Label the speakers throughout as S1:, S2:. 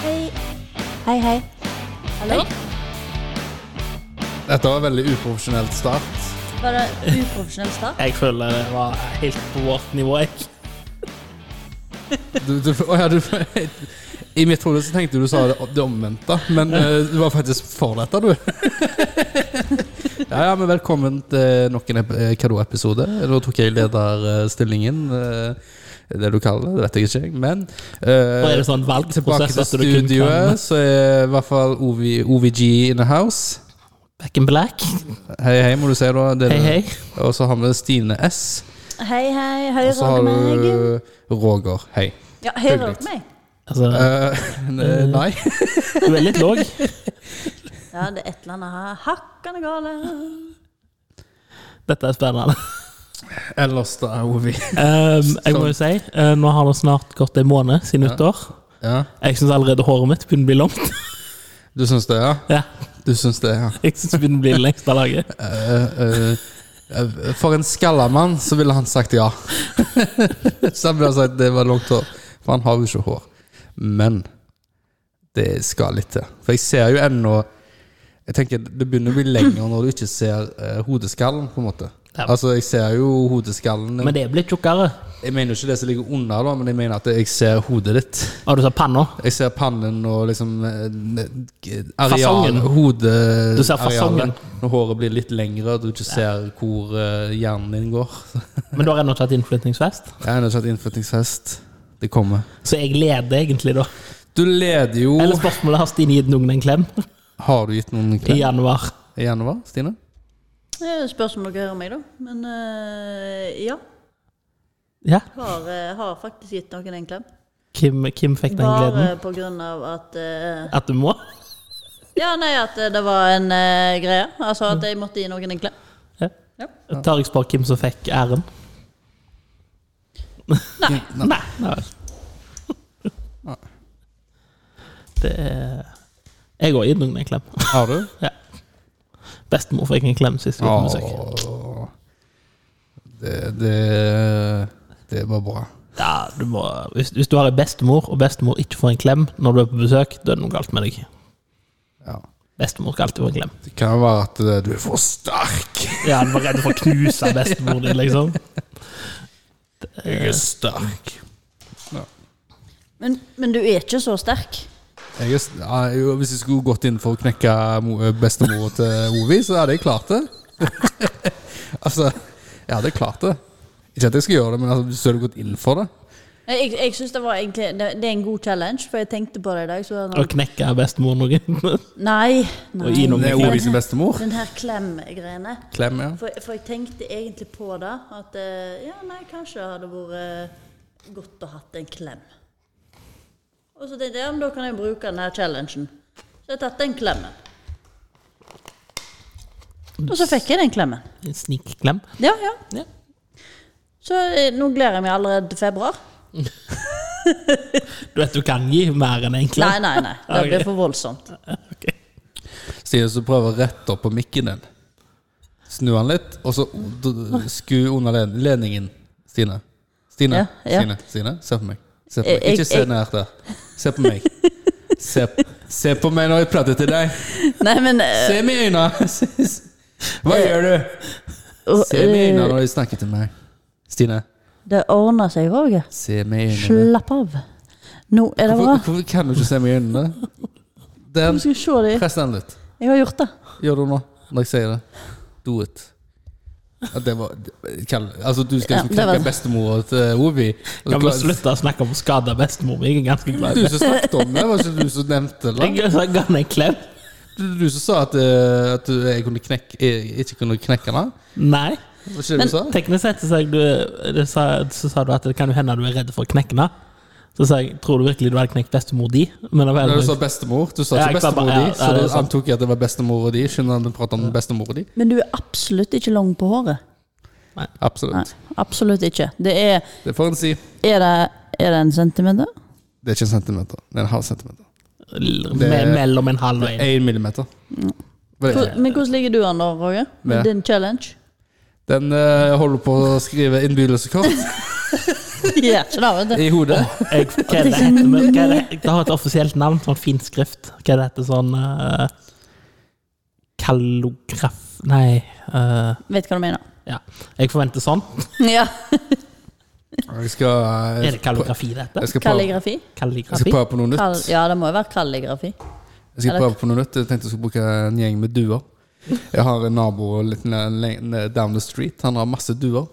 S1: Hei. Hei, hei.
S2: Hallo?
S3: Dette var veldig uprofesjonelt start.
S2: Var det uprofesjonell start?
S4: Jeg føler det var helt på vårt nivå. Jeg.
S3: Du, du, å ja, du, I mitt hode så tenkte du sa det, det omvendte, men eh, du var faktisk for dette, du. Ja, ja, men velkommen til nok en ep- eh, Kado-episode. Nå tok jeg lederstillingen. eh, Det du kaller det, det vet jeg ikke, jeg, men eh,
S4: Og er det sånn
S3: Tilbake
S4: valgprosess
S3: til eh.
S4: at du kun
S3: studioet,
S4: kan
S3: så er i hvert fall OV, OVG in the house.
S4: Back in black?
S3: Hei, hei, må du si, da. Det er-
S4: Hei, hei.
S3: Og så har vi Stine S.
S2: Hei, hei.
S3: Og
S2: Høyre
S3: så har
S2: over meg.
S3: du Roger. Hei.
S2: Ja, høyre over meg.
S4: Altså,
S3: Eh, ne- nei.
S4: du er litt låg.
S2: Ja, det er et eller annet her. Hakkende gale.
S4: Dette er spennende.
S3: Ellers da, Ovi.
S4: Um, jeg må jo si, eh, nå har det snart gått en måned siden nyttår.
S3: sånn. Ja.
S4: Jeg syns allerede håret mitt begynner å bli langt.
S3: Du syns det, ja?
S4: Ja,
S3: Du syns det, ja.
S4: jeg synes det begynner å bli det lengste av laget.
S3: Eh, eh, for en skalla mann så ville han sagt ja. så han ville ha sagt det var langt hår. For han har jo ikke hår. Men det skal litt til. For jeg ser jo ennå Jeg tenker Det begynner å bli lenger når du ikke ser eh, hodeskallen, på en måte.
S4: Ja.
S3: Altså, jeg ser jo hodeskallen.
S4: Men det er blitt tjukkere.
S3: Jeg mener jo ikke det som ligger under, da, men jeg mener at jeg ser hodet ditt.
S4: Og du sa panna.
S3: Jeg ser pannen og liksom eh, eh, areal,
S4: Fasongen.
S3: hode
S4: Du ser fasongen.
S3: arealet. Når håret blir litt lengre og du ikke ser hvor eh, hjernen din går.
S4: Men du har ennå ikke hatt innflytningsfest.
S3: Jeg har ennå ikke hatt innflyttingsfest. Det kommer.
S4: Så jeg leder egentlig, da.
S3: Du leder jo
S4: Eller spørsmålet har Stine gitt noen en klem
S3: Har du gitt noen
S4: i
S3: klem
S4: januar?
S3: i januar, Stine?
S2: Det er jo et spørsmål om dere hører meg, da. Men eh, ja.
S4: Ja.
S2: Har, eh, har faktisk gitt noen en klem.
S4: Kim, Kim fikk den gleden.
S2: Bare på grunn av at eh,
S4: At du må?
S2: Ja, nei, at eh, det var en eh, greie. Altså at jeg måtte gi noen en klem.
S4: Ja.
S2: Ja.
S4: Tar jeg spør hvem som fikk æren?
S2: Nei.
S4: Nei. Nei vel. Det er Jeg òg gitt noen en klem.
S3: Har du?
S4: Bestemor fikk en klem sist vi var på besøk.
S3: Åh. Det, det, det var bra.
S4: Ja, du må, hvis, hvis du har en bestemor, og bestemor ikke får en klem når du er på besøk, da er det noe galt med deg.
S3: Ja.
S4: Bestemor skal alltid få en klem.
S3: Det kan være at eh, du er for sterk.
S4: Ja, du var redd for å knuse bestemor din, liksom.
S3: Jeg er sterk.
S2: Men, men du er ikke så sterk.
S3: Jeg er, s- ja, jo, hvis jeg skulle gått inn for å knekke mo- bestemora til Ovi, så hadde jeg klart det. altså, jeg hadde klart det. Ikke at jeg skal gjøre det, men altså, hvis du hadde gått inn for det
S2: Nei, Jeg, jeg synes det var egentlig det, det er en god challenge, for jeg tenkte på det i dag. Så
S4: Å knekke bestemor noe.
S2: Nei. nei.
S4: Og gi noen
S3: Det er
S4: en klem.
S3: Ovi sin bestemor.
S2: Den her klem-greiene.
S3: Klem, ja.
S2: For, for jeg tenkte egentlig på det. At eh, ja, nei, kanskje hadde vært eh, godt å hatt en klem. Og så tenkte jeg ja, men da kan jeg bruke den her challengen. Så jeg tatt den klemmen. Og så fikk jeg den klemmen.
S4: En snikklem.
S2: Ja, ja.
S4: Ja.
S2: Så eh, nå gleder jeg meg allerede til februar.
S4: Du vet du kan gi mer enn en
S2: Nei,
S4: klem.
S2: nei, nei. Det
S4: Ok.
S2: blir for voldsomt.
S4: Ok.
S3: Stine så prøver å rette opp på mikken din. Snu han litt, og så d- sku under len- ledningen. Stine. Stine.
S2: Ja, ja.
S3: Stine. Stine. Se på meg. Se på meg.
S2: Jeg-
S3: Ikke se
S2: jeg-
S3: nært der. Se på meg. Se, se på meg når jeg prater til deg.
S2: Nei, men eh,
S3: Se meg i øynene! Hva gjør du?
S2: og,
S3: Se meg i
S2: eh,
S3: øynene når de snakker til meg. Stine,
S2: Det ordner seg, Roger.
S3: se meg i øynene.
S2: Slapp av. Nå er det bra.
S3: Hvorfor, hvorfor kan du ikke se meg i øynene?
S2: Du
S3: Den,
S2: skal se det.
S3: press den litt.
S2: Jeg har gjort det.
S3: Gjør du nå, når jeg sier det. Do it. Ja, det var Kall- Altså, du skal
S2: Ja,
S3: liksom
S2: det var-
S3: knekke bestemora til Ovi. Altså, Og
S4: Kan vi
S3: klar-
S4: slutte å snakke om å skade bestemor? mi? Jeg er ganske glad
S3: Du
S4: i det.
S3: som snakket om det, var ikke du som nevnte det?
S4: Jeg ga henne en klem.
S3: Du, du som sa at, eh, at du- jeg kunne knekke, jeg ikke kunne knekke den?
S4: Nei.
S3: Var ikke det du sa?
S4: Teknisk sett så sa, jeg, du, det sa, så sa du at det kan jo hende du er redd for å knekke henne. Så sa jeg tror du virkelig du hadde knekt bestemor di? Men det var
S3: Nei, sånn- Du sa
S4: heller,
S3: bestemor, du sa
S4: Ja,
S3: ikke
S4: jeg sa
S3: bestemor
S4: bare-
S3: di,
S4: ja,
S3: så
S4: ja, det
S3: da
S4: er sant.
S3: antok jeg at det var bestemora di. Skjønner han prater om bestemora di?
S2: Men du er absolutt ikke lang på håret. Nei,
S3: Absolutt.
S2: absolutt ikke. Det er
S3: Det får en si.
S2: Er det, er det en centimeter?
S3: Det er ikke en centimeter, det er en halv centimeter.
S4: l-
S3: det-
S4: me- mellom en halv og en. Mm.
S3: Én millimeter. Hva er det?
S2: Hvor- Men hvordan ligger du an da, Roger? Med
S3: Med?
S2: din challenge?
S3: Den eh, holder på å skrive innbydelsekort.
S2: De gjør ikke det, vet du.
S3: i hodet.
S4: Jeg, hva er det heter, men, hva er det, det har et offisielt navn, sånn fin skrift. Hva er det heter sånn eh, Kallograf... Nei. eh,
S2: Vet hva du mener.
S4: ja. Jeg forventer sånn.
S2: Ja.
S3: Jeg skal, eh,
S4: Er det kallografi det
S3: jeg
S4: heter?
S3: skal, prøve,
S2: Kalligrafi?
S3: jeg skal
S4: Kalligrafi?
S3: prøve på noe
S2: Kall
S3: nytt.
S2: ja, det må jo være kalligrafi.
S3: Jeg skal prøve på noe nytt. Jeg tenkte jeg skulle bruke en gjeng med duer. Jeg har en nabo litt le- le- le- down the street. Han har masse duer.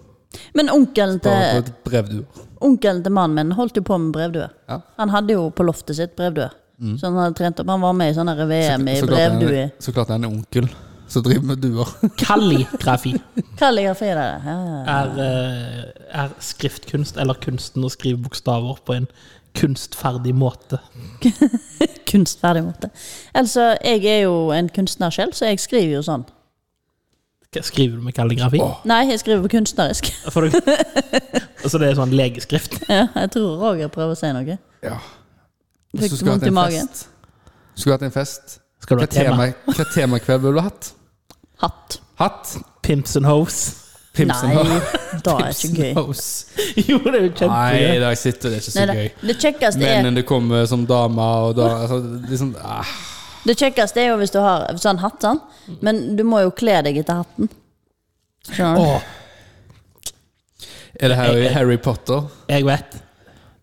S2: Men onkelen
S3: Bare
S2: til,
S3: på brevduer.
S2: onkelen til mannen min holdt jo på med brevdue.
S3: Ja. Mm.
S2: Han hadde jo på loftet sitt brevdue. Så han hadde trent opp. Han var med i sånne VM i
S3: Så klart han
S2: brevdue.
S3: er- så klart han er en onkel som driver med duer.
S4: Kalligrafi
S2: Kalligrafi, det er det. Ja, ja.
S4: er, eh, er skriftkunst, eller kunsten å skrive bokstaver på en kunstferdig måte.
S2: Kunstferdig måte. Altså, jeg er jo en kunstner selv, så jeg skriver jo sånn.
S4: Hva Skriver du med kalligrafi?
S3: Åh.
S2: Nei, jeg skriver på kunstnerisk.
S4: For du, altså det er sånn legeskrift.
S2: Ja, jeg tror Roger prøver å si noe.
S3: Ja.
S2: Fikk du vondt i magen?
S3: Fest. Skulle hatt en fest.
S4: Skal du
S3: Hva
S4: ha tema?
S3: tema- hva temakveld ville du hatt?
S2: Hatt.
S3: Hatt?
S4: Pimps and hoes?
S3: Pimsen
S2: Nei, da er det ikke gøy.
S4: Jo, det er jo
S3: Nei,
S4: kjempegøy.
S3: der sitter det er ikke
S2: Nei,
S3: så
S2: det,
S3: gøy.
S2: det, kjekkeste er,
S3: Men det kommer som dame og da altså, liksom, ah,
S2: det kjekkeste er jo hvis du har sånn hatt, sånn. Men du må jo kle deg etter hatten. Skjønner du?
S4: Åh,
S3: Er det Harry, Harry Potter?
S4: jeg vet.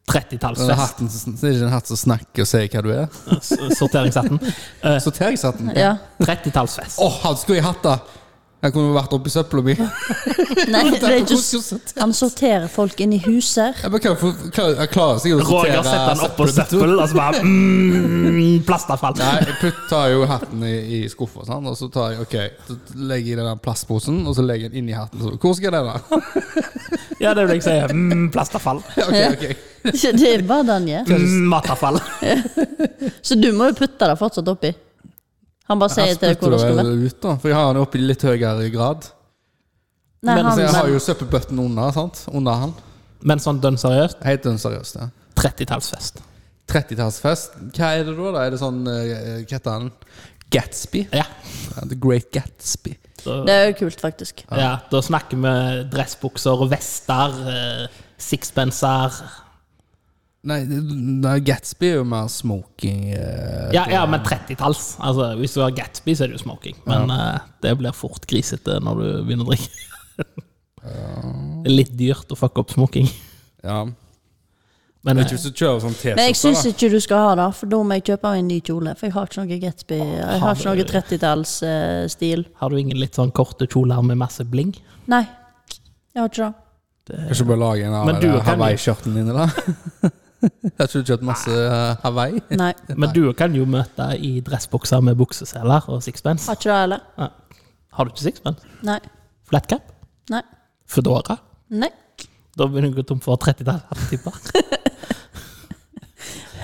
S3: Den
S4: 30-tallsfest.
S3: hatten, som- det er ikke en hatt som snakker og sier hva du er?
S4: S- Sorteringshatten. Eh,
S3: Sorteringshatten? Åh,
S2: Ja.
S4: 30-tallsfest.
S3: han skulle jeg hatt det! Han kunne vært oppi søpla mi.
S2: Nei, det er ikke s-
S3: Hvordan-
S2: Han sorterer folk inn i huser.
S3: Jeg bare kan få- klarer- jeg klarer sikkert å
S4: Roger setter den oppå
S3: søppelet mitt.
S4: søppel, og så bare mm, Plastavfall.
S3: Nei, jeg putt- tar jo hatten i, i skuffa, sånn, og så tar jeg, ok, så legger jeg den der plastposen, og så legger jeg den inni hatten. Så, hvor skal den, da?
S4: Ja, det vil jeg si. Mm, plastavfall.
S3: Ok, ok.
S2: Det er bare det han gjør.
S4: Mm, matavfall.
S2: Så du må jo putte det fortsatt oppi. Han bare sier
S3: Jeg
S2: til deg hvor
S3: spytter
S2: det skal
S3: vel
S2: være.
S3: ut, da, for jeg har den oppe i litt høyere grad.
S2: Nei, han,
S4: Men
S3: Så altså, jeg har
S2: men,
S3: jo søppelbøtten under, sant? Under han.
S4: Men sånn dønn seriøst,
S3: Helt dønn seriøst, ja.
S4: 30-tallsfest.
S3: 30-tallsfest. Hva er det da? da? Er det sånn eh, Hva heter han? Gatsby?
S4: Ja.
S3: Ja, The Great Gatsby.
S4: Så,
S2: det er jo kult, faktisk.
S4: ja, da snakker vi dressbukser og vester, eh, sixpenser
S3: Nei, nei, Gatsby er jo mer smoking eh,
S4: ja, ja, men 30-talls. Altså, hvis du har Gatsby, så er det jo smoking. Men eh, det blir fort grisete når du begynner å drikke. Det er litt dyrt å fucke opp smoking.
S3: Ja.
S4: Men, eh,
S3: Vet ikke hvis du kjører sånn
S2: Men jeg syns
S3: T-skjorte, da.
S2: ikke du skal ha det, for da må jeg kjøpe meg en ny kjole. For jeg har ikke noe Gatsby. Jeg har ikke noe eh, 30-tallsstil.
S4: Har du ingen litt sånn korte kjoler med masse bling?
S2: Nei, jeg har ikke det.
S3: Kan ikke bare lage en av
S4: Men du
S3: de
S4: kan jo-
S3: Hawaii-skjortene dine, da? Har ikke du kjøpt masse eh, Hawaii?
S2: Nei,
S4: Men du kan jo møte i dressbukser med bukseseler og sixpence.
S2: har ikke det heller.
S4: Ja. Har du ikke sixpence?
S2: Nei.
S4: Flat cap?
S2: Nei.
S4: Foodora?
S2: Nei.
S4: Da begynner du å gå tom for 30 timer.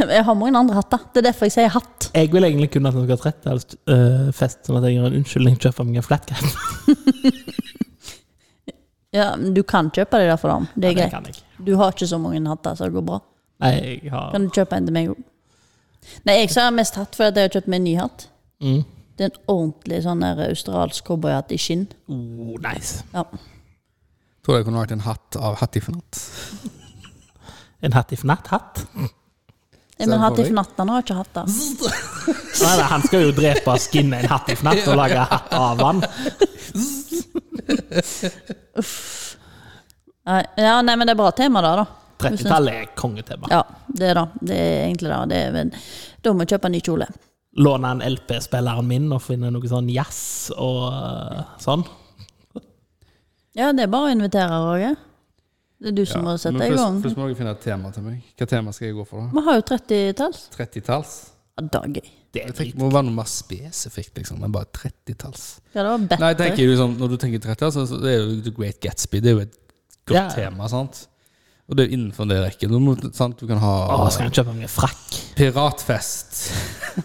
S2: Jeg har mange andre hatter. Det er derfor jeg sier hatt.
S4: Jeg vil egentlig kun at den skal ha 30 uh, fest, sånn at jeg har en unnskyldning til å kjøpe meg en flat cap.
S2: Ja, men Du kan kjøpe deg det for dem. Det er
S4: Det
S2: greit.
S4: kan jeg.
S2: Du har ikke så mange hatter, så det går bra.
S4: Nei, jeg har
S2: Kan du kjøpe en til meg òg? Nei, jeg sa mest hatt fordi jeg har kjøpt meg en ny hatt.
S4: mm.
S2: Det er en ordentlig sånn der australsk cowboyhatt i skinn.
S4: oh, Nice.
S2: Ja.
S3: Tror jeg kunne lagd en hatt av Hattifnat.
S4: En hatt i fnatt-hatt?
S2: Ja, Men
S3: Ser
S2: hatt
S3: for
S2: i
S3: deg.
S2: fnatt, han har ikke hatt det.
S4: Nei, nei, han skal jo drepe og skinne en hatt i fnatt og lage hatt av han.
S2: Nei, ja, nei, men det er bra tema, da. da.
S4: 30-tallet er kongetema.
S2: Ja, det er det. Det er egentlig det. det er, men, da må jeg kjøpe en ny kjole.
S4: Låne en LP-spilleren min og finne noe sånn jazz og eh, sånn.
S2: Ja, det er bare å invitere, Roger. Det er du som må sette i gang.
S3: Plutselig må dere finne et tema til meg. Hva tema skal jeg gå for, da?
S2: Vi har jo 30-talls.
S3: 30-talls?
S2: Ja, det er gøy.
S4: Det er
S3: Jeg tenker
S4: drit.
S3: Det må være noe mer spesifikt, liksom. enn bare 30-talls.
S2: Ja, det var bedre.
S3: Nei, jeg tenker jo sånn, Når du tenker 30, så så det er jo The Great Gatsby. Det er jo et godt
S4: Ja.
S3: tema, sant? Og det er jo innenfor det rekken. Du, må, sant? du kan ha
S4: Å, skal han kjøpe meg en frakk?
S3: piratfest.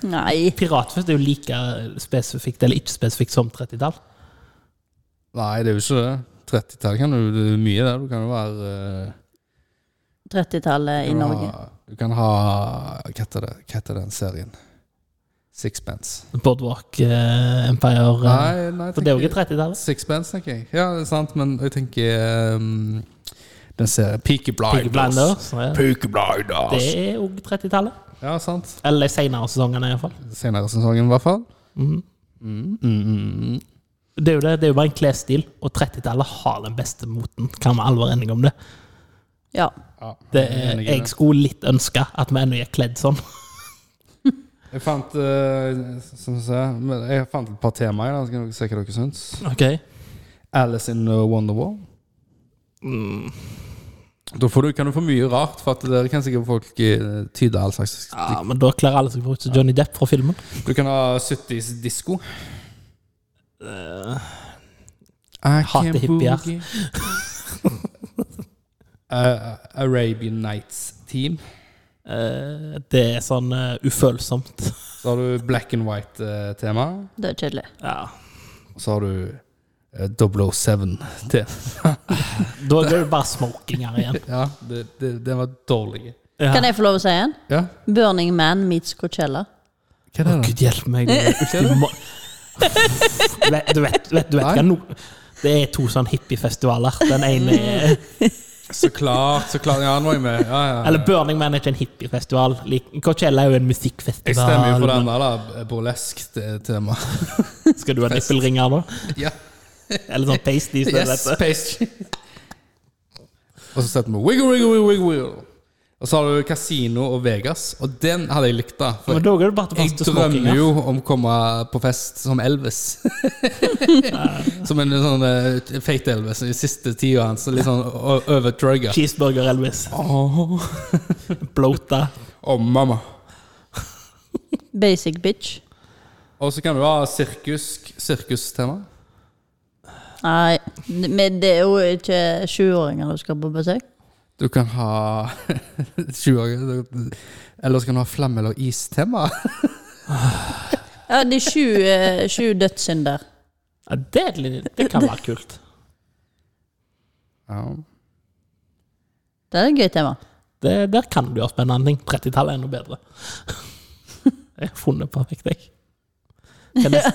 S2: Nei.
S4: Piratfest er jo like spesifikt eller ikke spesifikt som 30-tall.
S3: Nei, det er jo ikke det. 30-tallet kan du det er mye der. Du kan jo være eh,
S2: 30-tallet i
S3: du kan
S2: Norge.
S3: Ha, du kan ha Hva heter det? Hva heter den serien? Sixpence.
S4: Boardwalk eh, Empire eh,
S3: Nei, nei
S4: For det er
S3: tenker-
S4: jo ikke 30-tallet.
S3: Sixpence, tenker jeg. Ja, det er sant, men jeg tenker um, Den serien. Peaky
S4: Peaky Blinders.
S3: Blinders.
S4: ja.
S3: Peaky Blinders.
S4: Det er òg 30-tallet.
S3: Ja, sant.
S4: Eller de senere sesongene, iallfall.
S3: Senere sesongen, i hvert fall.
S4: Det er jo det, det er jo bare en klesstil, og 30-tallet har den beste moten. Kan vi alvor enige om det?
S2: Ja.
S3: Ja,
S4: det
S3: jeg er
S4: er,
S3: enig i
S4: jeg
S3: det.
S4: skulle litt ønske at vi ennå gikk kledd sånn.
S3: Jeg fant, eh, som jeg, sa, men jeg fant et par temaer. Da. Skal dere se hva dere syns.
S4: Ok.
S3: Alice in Wonderwall. Da får du, kan du få mye rart, for at dere kan sikkert folk eh, tyde all slags
S4: Ja, men da kler alle seg ut som Johnny Depp fra filmen.
S3: Du kan ha 70s disko. Eh, I
S4: Hater
S3: can
S4: hippier.
S3: boogie. Eh, Arabian Nights Team.
S4: Eh, Det er sånn eh, ufølsomt.
S3: Så har du black and white-tema.
S2: Det er kjedelig.
S4: Ja.
S3: Og så har du eh, 007-tema.
S4: Da blir det bare smokinger igjen.
S3: Ja, det, det, den var dårlig.
S4: Ja.
S2: Kan jeg få lov å si en?
S3: Ja,
S2: Burning Man meets Coachella.
S3: hva er
S4: Å,
S3: det da?
S4: Gud hjelpe meg. det er ultima- Vet- Du vet, vet, du vet
S3: Nei.
S4: hva no, Det er to sånn hippiefestivaler. Den ene er
S3: Så klart, så klart. Ja, nå er jeg med. Ja, ja, ja.
S4: Eller Burning Man er ikke en hippiefestival. Lik- Coachella er jo en musikkfestival.
S3: Jeg stemmer jo for den der, da. Burlesk-tema.
S4: Skal du ha nippelringer da?
S3: Ja.
S4: Eller sånn pasties? det
S3: Yes,
S4: heter.
S3: pastry. Og så setter vi wiggle, wiggle, wiggle, wiggle, wiggle. Og så har du Casino og Vegas, og den hadde jeg likt, da. For
S4: Men da går det bare til
S3: jeg
S4: faste
S3: drømmer
S4: smokinger.
S3: jo om å komme på fest som Elvis. som en sånn eh, feit Elvis i siste tida hans. Litt sånn o- overdrugga.
S4: Cheeseburger Elvis.
S3: Åh,
S4: Blota.
S3: Å, mamma.
S2: Basic bitch.
S3: Og så kan du ha sirkus sirkustema.
S2: Nei, men det er jo ikke 20-åringer du skal på besøk.
S3: Du kan ha 20 år Eller så kan du ha flamme- eller istema.
S2: Ja, de sju, eh, sju dødssynder.
S4: Ja, det, er litt- det kan være kult.
S3: Ja.
S2: Det er et gøy tema.
S4: Det, der kan du gjøre spennende ting. 30-tallet er enda bedre. Jeg har funnet perfekt, jeg. Kan jeg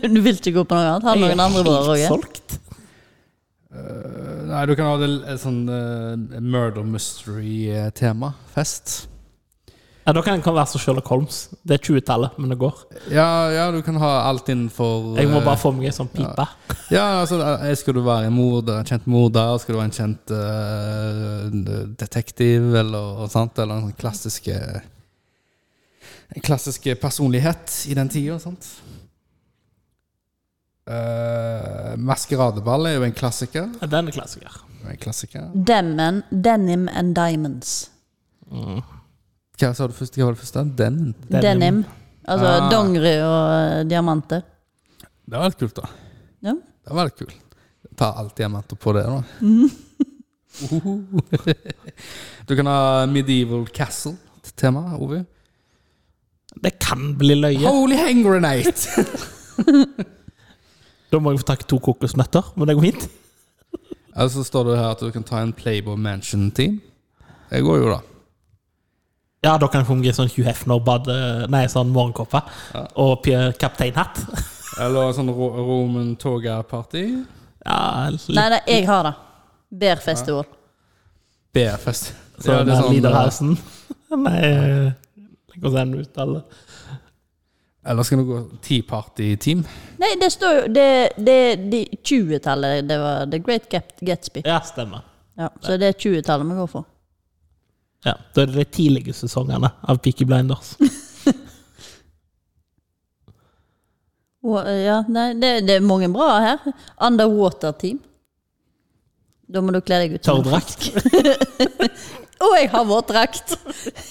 S2: Du, du vil ikke gå på noe annet? Har noen andre bra,
S4: helt
S2: Roger?
S4: solgt.
S3: Eh, Nei, du kan ha det et sånn eh, murder mystery-tema. Fest.
S4: Ja, da kan jeg være som Sherlock Holmes. Det er 20-tallet, men det går.
S3: Ja, ja, du kan ha alt innenfor
S4: Jeg må
S3: eh,
S4: bare få meg en sånn pipe.
S3: Ja, altså, eh, skal du være en morder, en kjent morder? Skal du være en kjent eh, detektiv, eller noe sånt? Eller en sånn klassiske En klassisk personlighet i den tida, sant? Eh, maskeradeball er jo en klassiker.
S4: Ja, Den er klassiker.
S3: En klassiker.
S2: Demon, denim and diamonds.
S3: Hva sa du først? Hva var det første? Den?
S4: Denim.
S2: Denim. Altså
S3: Ah.
S2: dongeri og eh, diamanter.
S3: Det var litt kult, da.
S2: Ja.
S3: Det var litt kult. Ta alt diamanter på det, da. Uhuhu. du kan ha medieval castle-tema, Ovi.
S4: Det kan bli løye.
S3: Holy hang grenade!
S4: Da må jeg få tak i to kokosnøtter, men det går fint.
S3: Eller så står det her at du kan ta en Playboy Mansion-team. Det går jo, da.
S4: Ja, da kan jeg få meg en sånn Hugh Hefner-bad... Nei, sånn morgenkåpe. Og p- kapteinhatt.
S3: Eller sånn ro Roman Toga-party.
S4: Ja,
S2: Nei,
S4: litt
S2: nei, jeg har det. Bear Festival.
S3: BFest. Ja,
S4: sånn
S3: det er sånn,
S4: Liderhausen. Nei eh, Jeg kan sende sånn ut alle.
S3: eller så kan du gå Tea Party-team.
S2: Nei, det står jo Det er 20-tallet. Det var The Great Gap- Gatsby.
S4: Ja, stemmer.
S2: Ja, så det er 20-tallet vi går for.
S4: Ja, Da er det de tidlige sesongene av Peaky Blinders.
S2: Og, eh, Ja, nei, det, det er mange bra her. Underwater Team. Da må du kle deg ut. som en
S4: Tørrdrakt.
S2: fisk. Å, jeg har våtdrakt!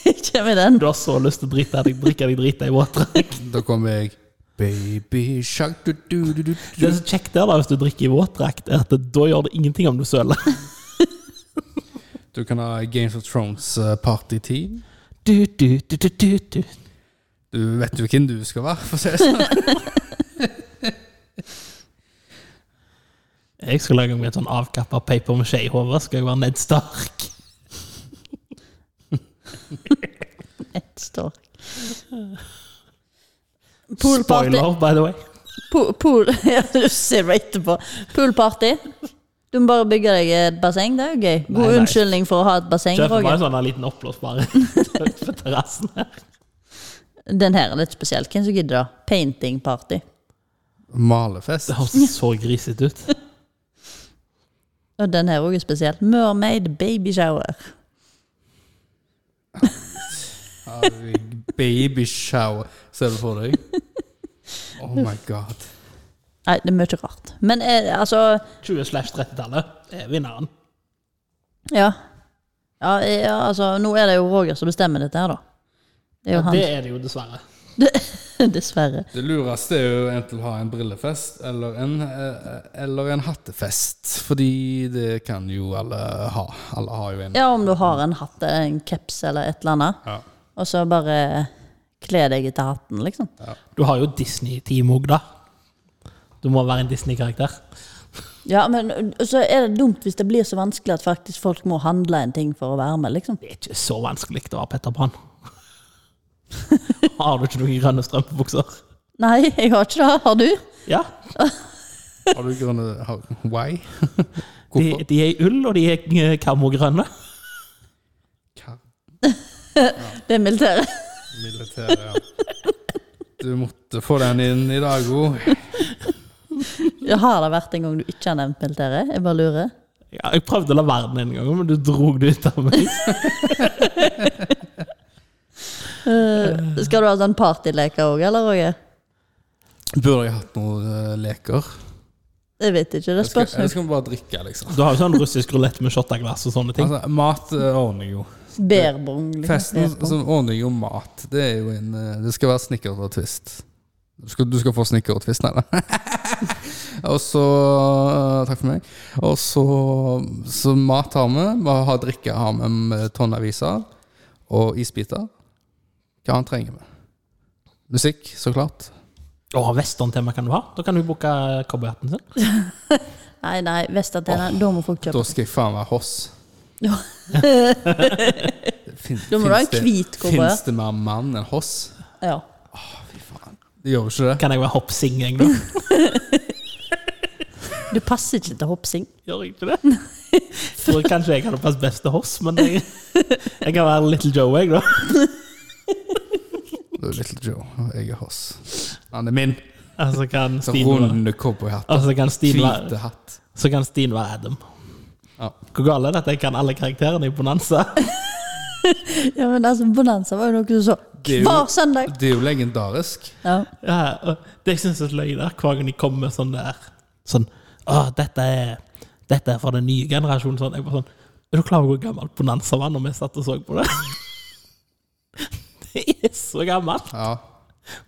S2: Kjem i den.
S4: Du har så lyst til å drite deg, drikke deg drita i våtdrakt.
S3: Da kommer jeg Baby shark du, du, du, du,
S4: Det
S3: du.
S4: som er kjekt der, da, hvis du drikker i våtdrakt, er at da gjør det ingenting om du søler.
S3: Du kan ha Games of Thrones-party-team.
S4: Du, du, du, du, du, du.
S3: Du vet jo hvem du skal være, for å si det sånn.
S4: Jeg skal lage meg et sånn avkappa paper med skje i hodet. Skal jeg være Ned Stark?
S2: Ett står. Poolparty.
S4: Spoiler, by the way.
S2: Pool, pool, ja, du ser det etterpå. Poolparty. Du må bare bygge deg et basseng. Det er jo gøy. God
S4: Nei, nei.
S2: unnskyldning for å ha et basseng.
S4: Kjøper meg en
S2: Roger.
S4: sånn her liten oppblåsbar på terrassen her.
S2: Den her er litt spesiell. Hvem som gidder det? Painting party.
S3: Malefest.
S4: Det høres så grisete ut.
S2: Og den her òg er spesiell. Mermaid baby shower.
S3: Babyshower, ser du for deg? Oh my god.
S2: Nei, det er mye rart. Men eh, altså
S4: 20 slash 30-tallet er vinneren.
S2: ja. Ja, eh, ja. Altså, nå er det jo Roger som bestemmer dette her, da. Det er jo
S4: Det er det jo, dessverre.
S2: han. Dessverre.
S3: Det lureste er jo enten å ha en brillefest eller en, eh, eller en hattefest. Fordi det kan jo alle ha. Alle har jo en.
S2: Ja, om du har en hatt, en caps eller et eller annet,
S3: Ja.
S2: og så bare kle deg etter hatten, liksom.
S4: Du har jo Disney-team òg, da. Du må være en Disney-karakter.
S2: Ja, men så er det dumt hvis det blir så vanskelig at faktisk folk må handle en ting for å være med, liksom.
S4: Det er ikke så vanskelig å være Petter Pan. Har du ikke noen grønne strømpebukser?
S2: Nei, jeg har ikke det. Har du?
S4: Ja.
S3: Har du grunne har, Why?
S4: De,
S3: Hvorfor?
S4: de er i ull, og de er eh, kamogrønne.
S3: Hva?
S2: Det er militæret.
S3: Militæret, ja. Du måtte få den inn i dag òg.
S2: Ja, Har det vært en gang du ikke har nevnt militæret? Jeg bare lurer.
S4: Ja, jeg prøvde å la være den en gang, men du drog det ut av meg.
S2: Eh, skal du ha sånn partyleker òg, eller, Roger?
S3: Burde jeg hatt noen eh, leker?
S2: Jeg vet ikke, det
S3: Jeg skal,
S2: spørs
S3: jeg
S2: nå.
S3: skal bare drikke, liksom.
S4: Du har jo sånn russisk rulett med shotteglass og sånne ting.
S3: Altså, mat eh, ordner jo.
S2: Berbong. Liksom.
S3: Festen altså-
S2: Berbong.
S3: som ordner jo mat. Det er jo en eh, Det skal være snickers og twist. Du skal, du skal få snickers og twist, nei da. og så eh, Takk for meg. Og så Så mat har vi. Vi har drikke har vi med tonn aviser og isbiter. Hva annet trenger vi? Musikk, så klart.
S4: Å, Westerntema kan du ha. Da kan du booke cowboyhatten sin.
S2: Nei, nei, Vestatena. da må folk
S3: Da
S2: kjøpe.
S3: skal jeg faen meg hoss.
S2: Ja.
S3: Fin,
S2: Da må du ha en
S3: finnes det-
S2: hvit cowboy.
S3: Finnes det mer mann enn hoss?
S2: Ja.
S3: Fy faen. Det gjør jo ikke det.
S4: Kan jeg være hoppsing, jeg, da?
S2: Du passer ikke til hoppsing.
S4: Gjør jeg ikke det? Tror jeg kanskje jeg hadde passet best til Hoss, men jeg, jeg kan være Little Joe, jeg, da.
S3: Det er Little Joe, og jeg er hoss. Han er min.
S4: Altså kan
S3: Så
S4: Stine være,
S3: runde cowboyhatt.
S4: altså kan Stine
S3: Hvite
S4: være,
S3: hatt.
S4: så kan Stine være Adam.
S3: Ja.
S4: Hvor galt er det at jeg kan alle karakterene i Bonanza?
S2: Ja, men altså, Bonanza var jo noe du så
S3: Det er jo-
S2: hver søndag.
S3: Det er jo legendarisk.
S2: Ja.
S4: Ja, og det jeg synes er så løye der, hver gang de kommer med sånn der Sånn Å, dette er Dette er for den nye generasjonen. Sånn. Jeg bare sånn Er du klar over hvor gammel Bonanza var når vi satt og så på det? Det er så gammelt!
S3: Ja.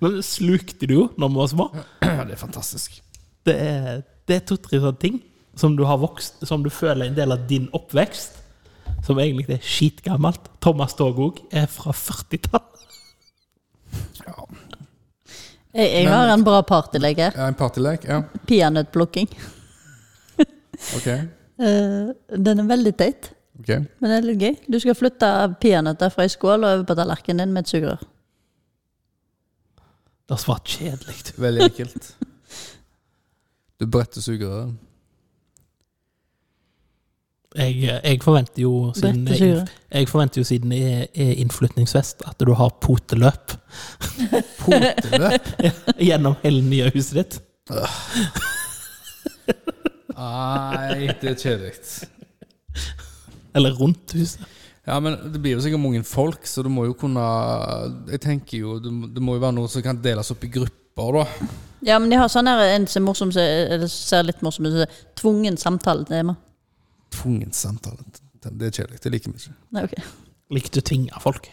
S4: Men det slukte det jo når vi var små.
S3: Det er fantastisk.
S4: det er, det er to-tre sånne ting som du har vokst, som du føler er en del av din oppvekst, som egentlig er skitgammelt. Thomas Tog òg er fra 40-tallet.
S3: Ja.
S2: Jeg, jeg har en bra partyleke.
S3: Ja, En partylek? Ja,
S2: Peanøttplukking.
S3: ok.
S2: Eh, den er veldig teit,
S3: Ok.
S2: men det er litt gøy. Du skal flytte peanøtter fra ei skål og over på tallerkenen din med et sugerør.
S4: Det har svart kjedelig ut.
S3: Veldig enkelt. Du bretter sugerøret.
S4: Jeg, jeg forventer jo, siden
S2: Dette sier
S4: jeg,
S2: jeg.
S4: jeg forventer jo siden jeg er innflytningsfest, at du har poteløp
S3: Poteløp?
S4: gjennom hele nye huset ditt.
S3: Nei, det er kjedelig.
S4: Eller rundt huset.
S3: Ja, men det blir jo sikkert mange folk, så du må jo kunne Jeg tenker jo, det må- det må jo være noe som kan deles opp i grupper, da.
S2: Ja, men de har sånn her en som er morsom, som- eller som ser litt morsom ut, som er tvungen samtaletema.
S3: Tvungen samtale. Det er kjedelig. Det liker vi ikke.
S2: Nei, ok.
S4: Liker du å tvinge folk?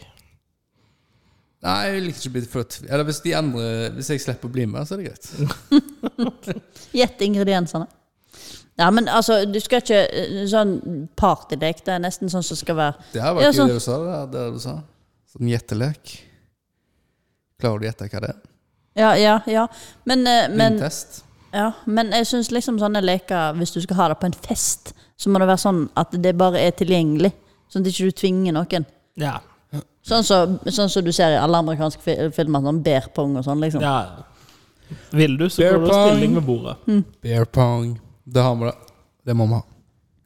S3: Nei, jeg liker ikke å bli født Eller hvis de andre Hvis jeg slipper å bli med, så er det
S2: Mm.
S3: greit.
S2: Gjett ingrediensene. Ja, men altså, du skal ikke eh, sånn partylek. Det er nesten sånn som skal være
S3: Det her var
S2: Ja,
S3: ikke
S2: sånn.
S3: det du sa. Det, her, det du sa Sånn gjettelek. Klarer du å gjette hva det er?
S2: Ja, ja, ja. Men, eh, men
S3: Blindtest?
S2: Ja, men jeg syns liksom sånne leker, hvis du skal ha det på en fest, så må det være sånn at det bare er tilgjengelig. Sånn at ikke du tvinger noen.
S4: Ja.
S2: Sånn som sånn som du ser i alle amerikanske fi- filmer, sånn bear pong og sånn, liksom.
S4: ja. Vil du, så
S3: Bear
S4: får du
S3: pong.
S4: stilling ved bordet.
S3: Bear pong. Det har vi, det. Det må vi ha.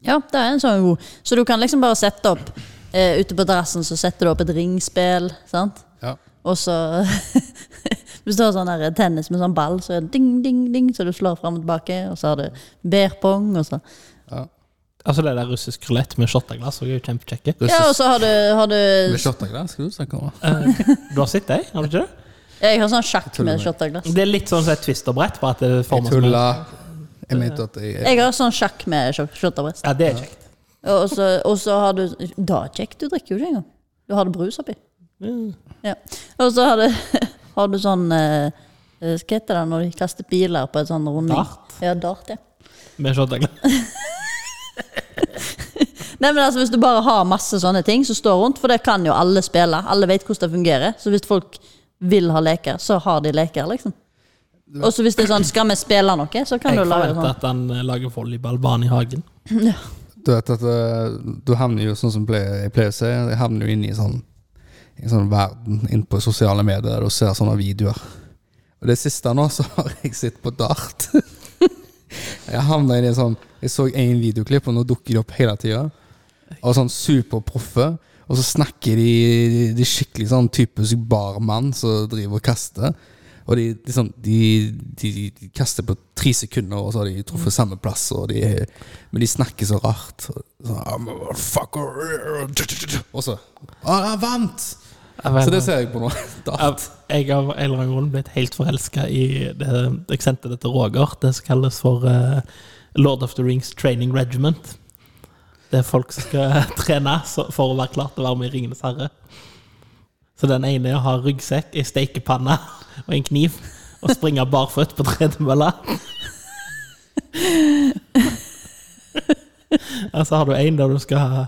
S2: Ja, det er en sånn god. Så du kan liksom bare sette opp eh, ute på terrassen, så setter du opp et ringspill, sant?
S3: Ja.
S2: Og så Hvis du har sånn her tennis med sånn ball, så er det ding, ding, ding, så du slår fram og tilbake, og så har du beer pong, og så
S4: Altså det der russisk rulett med shotteglass er jo kjempekjekke.
S2: Ja, og så har du, har du
S3: Med shotteglass skal du snakke om.
S4: Du har sett det, har du ikke det?
S2: Jeg har sånn sjakk
S3: tuller
S2: med
S3: med.
S2: shotteglass.
S4: Det er litt sånn som et twisterbrett, bare at det
S3: Jeg
S4: former som en
S3: tulla. Jeg mente at jeg
S2: Jeg har sånn sjakk med shotteglass.
S4: Ja, det er kjekt.
S2: Og så- og så har du Da er det kjekt, du drikker jo ikke engang. Du har det brus oppi.
S4: Mm.
S2: Ja. Og så har du, har du sånn eh, eh, Hva heter det når de kaster biler på en sånn runding?
S4: Dart?
S2: Ja, dart, ja.
S4: Med shotteglass.
S2: Nei, men altså Hvis du bare har masse sånne ting som står rundt, for det kan jo alle spille. Alle vet hvordan det fungerer. Så hvis folk vil ha leker, så har de leker, liksom. Og så hvis det er sånn Skal vi spille noe, så kan
S4: Jeg
S2: du lage
S4: forventer
S2: sånn.
S4: at han eh, lager volleyballbane i hagen.
S3: Du vet at eh, du havner jo sånn som ple- jeg pleier å si, jeg havner jo inne i sånn i en sånn verden inne på sosiale medier der du ser sånne videoer. Og det siste nå, så har jeg sett på dart. jeg havna inn i en sånn Jeg så én videoklipp, og nå dukker de opp hele tida. Og sånn superproffe. Og så snakker de De skikkelig sånn typisk barmann som driver og kaster. Og de, de, sånn, de, de, de kaster på tre sekunder, og så har de truffet samme plass. Og de, men de snakker så rart. Sånn, I'm a fucker. Og så Å, jeg vant! Så det ser jeg på nå.
S4: Ja,
S3: Da.
S4: Jeg har av en eller annen grunn blitt helt forelska i det jeg sendte det til Roger. Det som kalles for eh, Lord of the Rings Training Regiment. Det er folk som skal trene så- for å være klar til å være med i Ringenes herre. Så den ene har ryggsekk, ei stekepanne og en kniv. Og springer barføtt på tredemølla. Og så har du en der du skal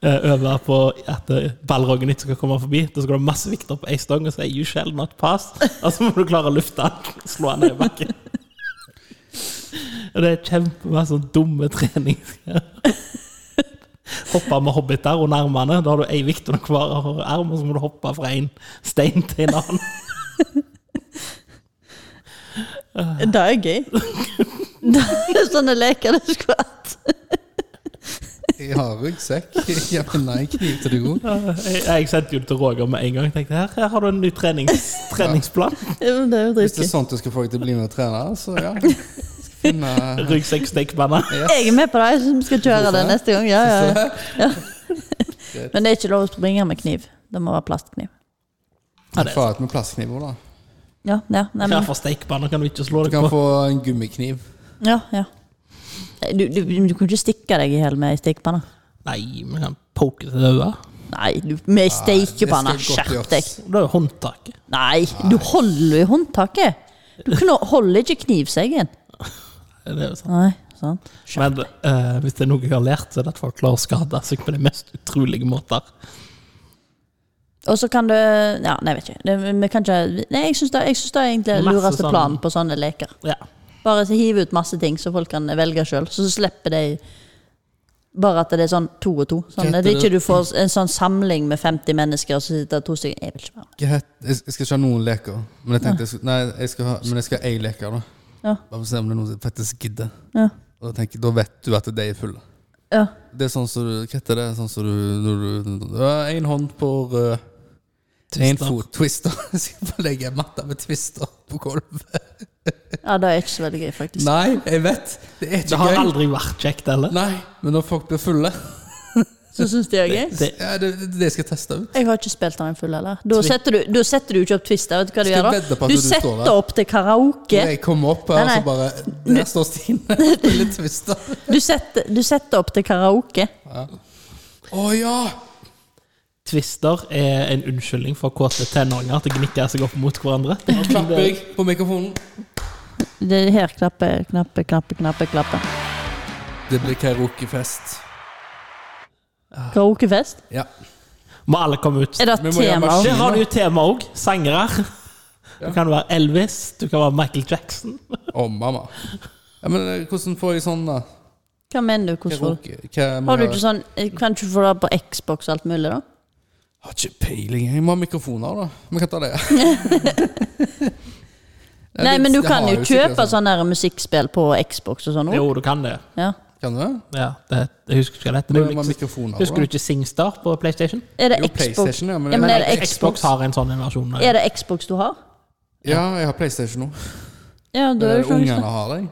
S4: eh, øve på at eh, ballroggen ikke skal komme forbi. Da skal du ha masse vekt opp ei stang og si 'you shall not pass'. Og så må du klare å lufte den. Slå den ned i bakken. Og det er kjempemasse sånn dumme trening. Hoppe med hobbiter under armene. Da har du ei vekt under hver arm, og så må du hoppe fra en stein til en annen.
S2: Det er gøy. Det er sånne leker det skulle vært.
S3: Jeg har ryggsekk. Jeg har en kniv til det gode.
S4: Jeg, jeg sendte jo det til Roger med en gang. Tenkte her, her har du en ny trenings, treningsplan.
S2: Ja, men Det er jo
S3: Hvis det er
S2: dritgøy.
S3: sånt du skal få deg til å bli med og trene, så ja. Skal finne
S4: Ryggsekk, stekepanne.
S2: Jeg er med på det. Jeg synes vi skal kjøre det neste gang. Ja, ja, ja.
S3: Greit.
S2: Men det er ikke lov å springe med kniv. Det må være plastkniv.
S4: Ja, det er
S3: Få ut med plastkniver, da.
S2: Ja, ja. Nei,
S4: Ja,
S2: men,
S4: for stekepanne kan du ikke slå
S3: Du
S4: deg
S3: kan
S4: på.
S3: få en gummikniv.
S2: ja, ja. Nei, Du, du, du kan ikke stikke deg i hjel med ei stekepanne.
S4: Nei, men han poker til øyet.
S2: Nei, du, med ei stekepanne.
S3: det skal godt
S2: Skjerp
S3: gjøres.
S2: deg.
S4: Det er jo håndtaket.
S2: Nei, du holder jo i håndtaket. Du kno- holder ikke knivseggen.
S4: Det er jo sant.
S2: Nei, sant.
S4: Men eh, hvis det er noe jeg har lært, så er det at folk klarer å skade seg på de mest utrolige måter.
S2: Og så kan du Ja, nei, jeg vet ikke. Det, vi kan ikke nei, jeg syns det, jeg synes det er egentlig
S4: Masse
S2: lureste
S4: sånn-
S2: planen på sånne leker.
S4: Ja.
S2: Bare så hive ut masse ting så folk kan velge sjøl. Så slipper de bare at det er sånn to og to. Sånn,
S3: Hva heter
S2: at ikke
S3: det?
S2: du får en sånn samling med 50 mennesker, og så sitter det to stykker Jeg vil ikke være med.
S3: Jeg het- jeg jeg skal ikke ha noen leker. Men jeg tenkte jeg skulle, nei, jeg skal ha, men jeg skal ha én leker, da.
S2: Ja.
S3: Bare for å se om det er noen som faktisk gidder.
S2: Ja.
S3: Og da, tenker, jeg, da vet du at de er fulle.
S2: Ja.
S3: Det er sånn som du Hva heter det? Sånn som du når du- du har Én hånd på rød, én
S4: Twister.
S3: fot twister. Så Skal bare legge en matte med twister på gulvet.
S2: ja, det er ikke så veldig gøy, faktisk.
S3: Nei, jeg vet. Det er
S4: Det
S3: ikke
S4: har
S3: gøy.
S4: aldri vært kjekt, eller?
S3: Nei, men når folk blir fulle
S2: Så syns de det er gøy.
S4: Det,
S3: ja, Det det er det jeg skal teste ut.
S2: Jeg har ikke spilt den full, eller? Da setter du, da setter du ikke opp Twister. Vet du hva du
S3: Skal
S2: gjør
S3: jeg vedde på
S2: da? Du
S3: at du står
S2: setter
S3: der?
S2: opp til karaoke.
S3: Når jeg kommer opp her,
S2: Nei, nei.
S3: så bare Der står Stine og spiller Twister.
S2: Du setter, du setter opp til karaoke.
S3: Å ja!
S4: twister er en unnskyldning for kåte tenåringer til å gnikke seg opp mot hverandre. Det
S3: Nå
S4: er
S3: klapper jeg på mikrofonen.
S2: Det er her knappe, knappe, knappe, knappe, knappe.
S3: Det blir karaokefest.
S2: Karaokefest?
S3: Ja.
S4: Må alle komme ut.
S2: Er det
S3: Vi må gjøre
S2: tema?
S3: maskin.
S4: Der har du jo tema òg. Sangere. Du kan være Elvis, du kan være Michael Jackson.
S3: Å, mamma. Ja, men eh, hvordan får jeg sånn, da?
S2: Hva mener du? Hvordan? får du-
S3: Karaoke? Hva må
S2: Har du
S3: jeg-
S2: ikke sånn Kan du ikke få det på Xbox og alt mulig, da?
S3: Har ikke peiling. Jeg må ha mikrofoner, da. Vi kan ta det.
S2: Nei, men du
S3: Jeg
S2: kan
S3: har
S2: jo
S3: sikkert sånn.
S2: kjøpe sånne her musikkspill på Xbox og sånn. også.
S4: Jo, du kan det.
S2: Ja.
S3: Kan du det?
S4: Ja, det, jeg husker ikke hva det
S3: Må
S4: heter. men
S3: jo ha
S4: liksom-
S3: mikrofoner.
S4: Husker du
S3: da.
S4: ikke SingStar på PlayStation?
S2: Er det
S3: Jo,
S2: Xbox?
S3: PlayStation, ja. Men,
S2: Ja, men
S3: jeg,
S2: er det Xbox?
S4: Xbox har en sånn versjon.
S2: Er det Xbox du har?
S3: ja, jeg har PlayStation nå.
S2: Ja, du er jo sånn-
S3: Eh,
S2: ikke
S3: Ungene har det.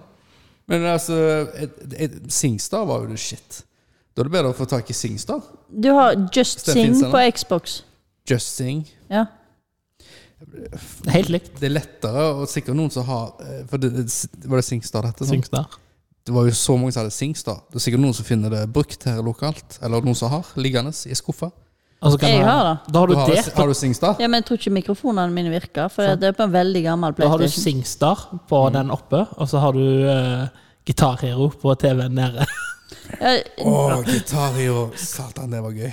S3: Men altså, et, et, Singstar var jo det shit. Da er det bedre å få tak i Singstar.
S2: Du har Just Sing
S3: Steffen Finsen,
S2: på
S3: da.
S2: Xbox.
S3: Just Sing.
S2: Ja.
S4: Helt likt.
S3: Det er lettere, og sikkert noen som har eh, For det, det, Var det Singstar dette? Sånn?
S4: SingStar.
S3: Det var jo så mange som hadde Singstar. Det er sikkert noen som finner det brukt her lokalt. Eller noen som har liggende i skuffa.
S4: Og så Altså, kan
S2: Jeg
S4: du-
S2: har det.
S4: Da har du,
S3: Du har,
S4: det.
S3: har du Singstar?
S2: ja, men jeg tror ikke mikrofonene mine virker, for
S3: Sånn.
S2: det er på en veldig gammel
S4: Da har du
S2: PlayStation.
S4: SingStar på den oppe, og så har du uh, Gitarhero på TV-en nede.
S2: Ja,
S3: Å, Gitario. Satan, det var gøy.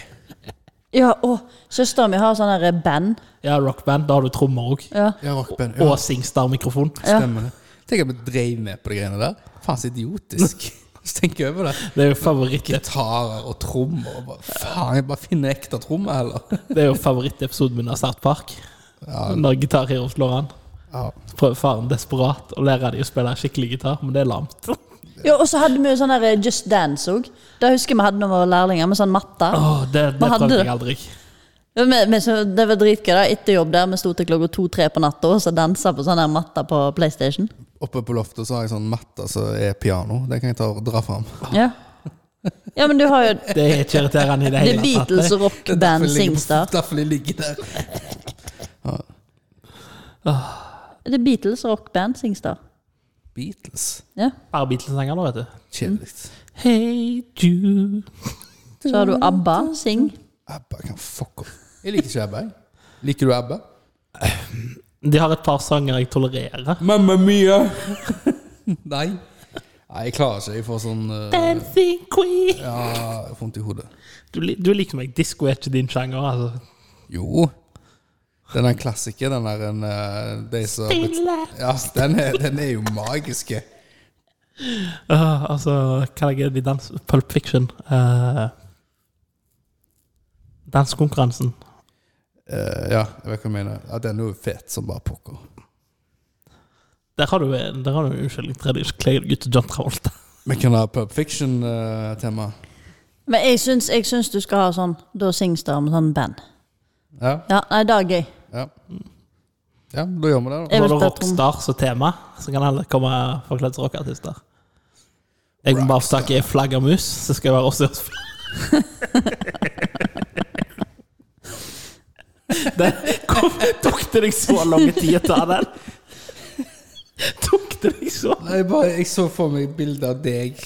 S2: ja, å, søstera mi har sånn her band.
S4: ja, rockband. Da har du trommer òg.
S2: Ja.
S3: Ja, rockband.
S4: Og
S3: Ja,
S4: SingStar-mikrofon.
S2: Ja.
S3: stemmer det. Tenk at vi dreiv med på de greiene der. Faen så idiotisk. Hvis du tenker over det.
S4: Det er jo favoritt-
S3: Gitarer og trommer. og bare, Faen, jeg bare finner ekte trommer, heller.
S4: det er jo favorittepisoden min av South Park. Når Gitarhero slår an.
S3: Ja.
S4: Så prøver faren desperat å lære dem å spille skikkelig gitar, men det er lamt.
S2: Ja, og så hadde vi jo sånn her Just Dance òg. Det husker jeg vi hadde når vi var lærlinger, med sånn matte.
S4: Åh, det det
S2: Hva hadde
S4: prøvde
S2: du?
S4: jeg aldri.
S2: Ja, men- men så- det var dritgøy. da, Etter jobb der, vi sto til klokka to-tre på natta og så dansa på sånn her matte på PlayStation.
S3: Oppe på loftet så har jeg sånn matte som er piano. Det kan jeg ta og dra fram.
S2: Ja. ja, men du har jo
S4: Det er ikke irriterende i det
S2: The
S4: hele tatt.
S2: Beatles og
S3: Det er derfor
S2: rockband
S3: jeg ligger på-
S2: Singstar.
S3: Derfor de ligger der.
S2: The Beatles og rockband Singstar.
S3: Beatles.
S2: Ja.
S4: Bare Beatles-sanger nå, vet du.
S3: Kjedelig.
S4: Hey Jude.
S2: Så har du ABBA, Sing.
S3: ABBA kan fuck off. Jeg liker ikke ABBA. jeg. Liker du ABBA?
S4: De har et par sanger jeg tolererer.
S3: Mamma mia! Nei. Nei, jeg klarer ikke. Jeg får sånn eh,
S4: Dancing Queen.
S3: Ja, jeg får vondt i hodet.
S4: Du, li- du liker meg. Disko er ikke din sjanger, altså.
S3: Jo. Den er en klassiker, den der en, eh, de som har blitt- Ja, den er, den er jo magisk.
S4: Uh, altså, hva er det de danser? Pulp Fiction. Uh, dansekonkurransen.
S3: Eh, ja, jeg vet hva jeg mener. Ja, den er jo fet som bare pokker.
S4: Der har du en der har du en unnskyldning til deg. Kledd gutt John Travolta.
S3: Vi kan ha eh, Pub Fiction-tema.
S2: Men jeg syns, jeg syns du skal ha sånn Da Singstar med sånn band.
S3: ja,
S2: Ja, nei, det er gøy.
S3: ja. Mm. ja, da gjør vi det. da.
S2: Jeg
S4: Var
S2: vil
S4: det
S2: ta
S4: Rockstar som tema, så kan alle komme forkledd som rockeartister. Jeg må bare få tak i en flaggermus, så skal jeg være også Den kom, Tok det deg så lang tid å ta den? Tok det deg så
S3: Nei, bare, jeg så for meg bilde av deg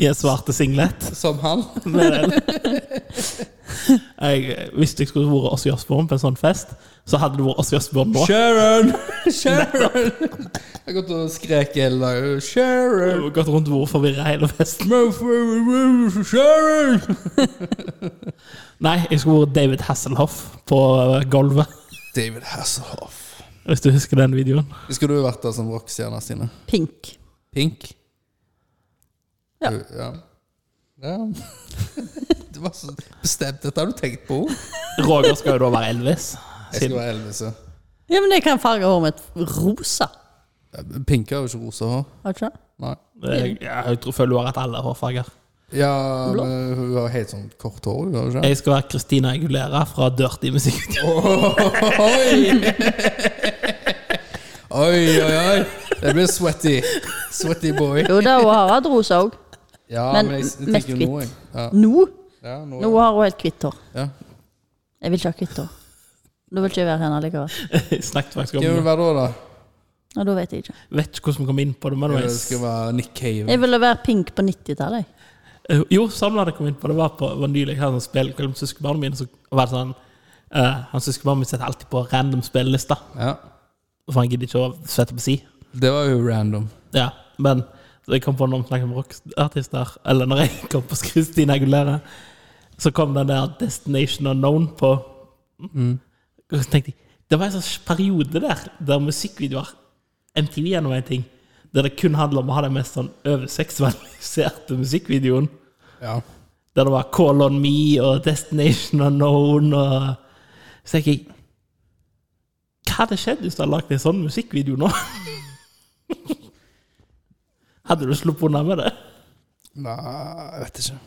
S4: I en svarte singlet?
S3: som han.
S4: Med den. Jeg, hvis jeg skulle vært Åssi Osborn på en sånn fest, så hadde det vært Åssi Osborn nå.
S3: Sharon! Sharon! Jeg har gått og skrek hele dagen.
S4: Jeg
S3: Sharon!
S4: har Gått rundt og vært forvirra hele festen.
S3: Sharon!
S4: Nei, jeg skulle vært David Hasselhoff på eh, gulvet.
S3: David Hasselhoff.
S4: Hvis du husker den videoen.
S3: Husker du vært der som rockestjerne, Stine?
S2: Pink.
S3: Pink?
S2: Ja.
S3: Du, ja. ja. det var så bestemt. Dette har du tenkt på.
S4: Roger skal jo da være Elvis.
S3: Jeg skal
S4: Siden
S3: være Elvis. ja.
S2: Ja, men jeg kan farge håret mitt rosa.
S3: Pink har jo ikke rosa hår.
S2: Har du ikke det?
S3: Nei.
S4: jeg, ja, jeg tror føler hun har hatt alle hårfarger.
S3: Ja, men hun har helt sånn kort hår, hun har ikke det?
S4: Jeg skal være Christina Agulera fra Dirty Musikk.
S3: Oi! Oi, oi, oi. Det blir sweaty. Sweaty boy.
S2: Jo da, hun har hatt rosa òg.
S3: Ja,
S2: Men
S3: men, jeg, jeg
S2: mest
S3: tenker jo nå, jeg. Ja,
S2: Nå?
S3: ja, nå,
S2: Nå har hun helt hvitt hår.
S3: ja.
S2: Jeg vil ikke ha hvitt hår. Da vil ikke jeg være henne likevel.
S4: Jeg snakket faktisk
S3: Hvem vil du
S4: om det.
S3: være da, da?
S2: Og da vet jeg ikke.
S4: Vet ikke hvordan vi kom inn på det. Men det
S3: Det skal
S4: var-
S3: være Nick Cave.
S2: Jeg ville være pink på 90-tallet. jeg.
S4: Eh, jo, sammen hadde jeg kommet inn på det. var på var nylig jeg hadde en spillkveld med søskenbarnet mitt. Så var det sånn eh, Han søskenbarnet mitt setter alltid på random spillelister,
S3: Ja.
S4: for han gidder ikke å sette på si.
S3: Det var jo random.
S4: Ja, men så jeg kom på når vi snakket om rockartister, eller når jeg kom på Christina Aguilera, så kom den der Destination Unknown på. Og så tenkte jeg, det var en sånn periode der, der musikkvideoer, MTV er noe en ting, der det kun handler om å ha den mest sånn overseksualiserte musikkvideoen,
S3: Ja.
S4: der det var Call On Me og Destination Unknown, og så tenkte jeg, hva hadde skjedd hvis du hadde lagt en sånn musikkvideo nå? Hadde du sluppet unna med det?
S3: Nei, jeg vet ikke.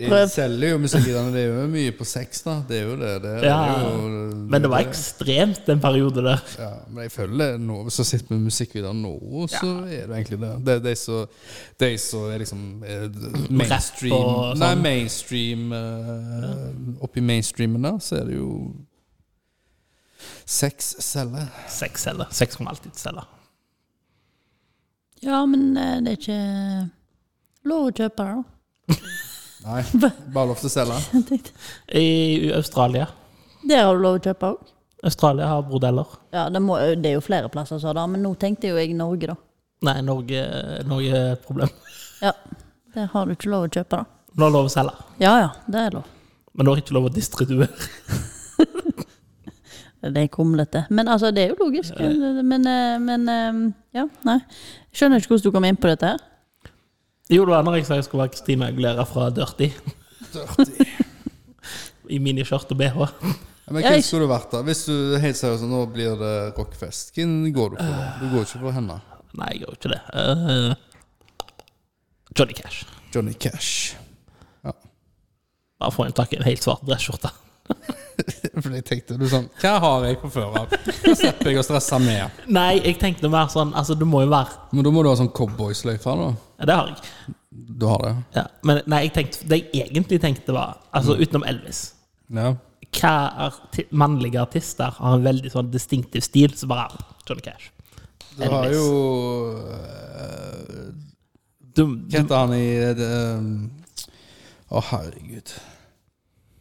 S3: De
S2: Prøv.
S3: selger jo musikkvideoene. Det er jo mye på sex, da. Det er jo det. det, er,
S4: Ja,
S3: det er jo,
S4: Men det var ekstremt en periode der.
S3: Ja, men jeg føler nå, hvis du sitter med musikkvideoer nå, så er det egentlig det. Det er de som de som er liksom eh, mainstream
S4: og sånn.
S3: Nei, mainstream eh, Oppi mainstreamen der, så er det jo Sex selger.
S4: Seks celler. Seks kommer alltid til å selge.
S2: Ja, men eh, det er ikke lov å kjøpe her, da.
S3: Nei, bare lov til å selge.
S2: Jeg tenkte,
S4: I Australia.
S2: Der har du lov å kjøpe òg.
S4: Australia har bordeller.
S2: Ja, det, må, det er jo flere plasser, så da, men nå tenkte jo jeg Norge, da.
S4: Nei, Norge, Norge er et problem.
S2: Ja, Der har du ikke lov å kjøpe, da.
S4: Nå er det lov å selge,
S2: Ja ja, det er lov.
S4: men nå er det ikke lov å distribuere.
S2: Det er kumlete. Men altså, det er jo logisk. Men, eh, men eh, ja, nei. Jeg skjønner ikke hvordan du kom inn på dette her.
S4: Jo, det var når jeg sa jeg skulle være Christine Aguilera fra Dirty,
S3: Dirty.
S4: i miniskjørt og bh.
S3: Ja, Men
S2: Ja,
S3: hvem
S2: jeg-
S3: skulle du vært da? Hvis du helt seriøst, nå blir det rockefest. Hvem går du for da? Du går ikke for henne.
S4: Nei, jeg gjør jo ikke det. Eh, Johnny Cash.
S3: Johnny Cash. Ja.
S4: Bare få en tak i en helt svart dressskjorte.
S3: For jeg tenkte du sånn Hva har jeg på før av? Da slipper jeg å stresse mer.
S4: Nei, jeg tenkte mer sånn Altså, det må jo være
S3: Men da må du ha sånn cowboysløyfe, da.
S4: Ja, Det har jeg.
S3: Du har det?
S4: Ja, men nei, jeg tenkte, det jeg egentlig tenkte, var Altså, utenom Elvis
S3: Ja.
S4: hva arti mannlige artister har en veldig sånn distinktiv stil, så bare Johnny Cash.
S3: Du har
S4: Elvis.
S3: jo eh,
S4: Du,
S3: Hva heter han i det, um, Å, herregud.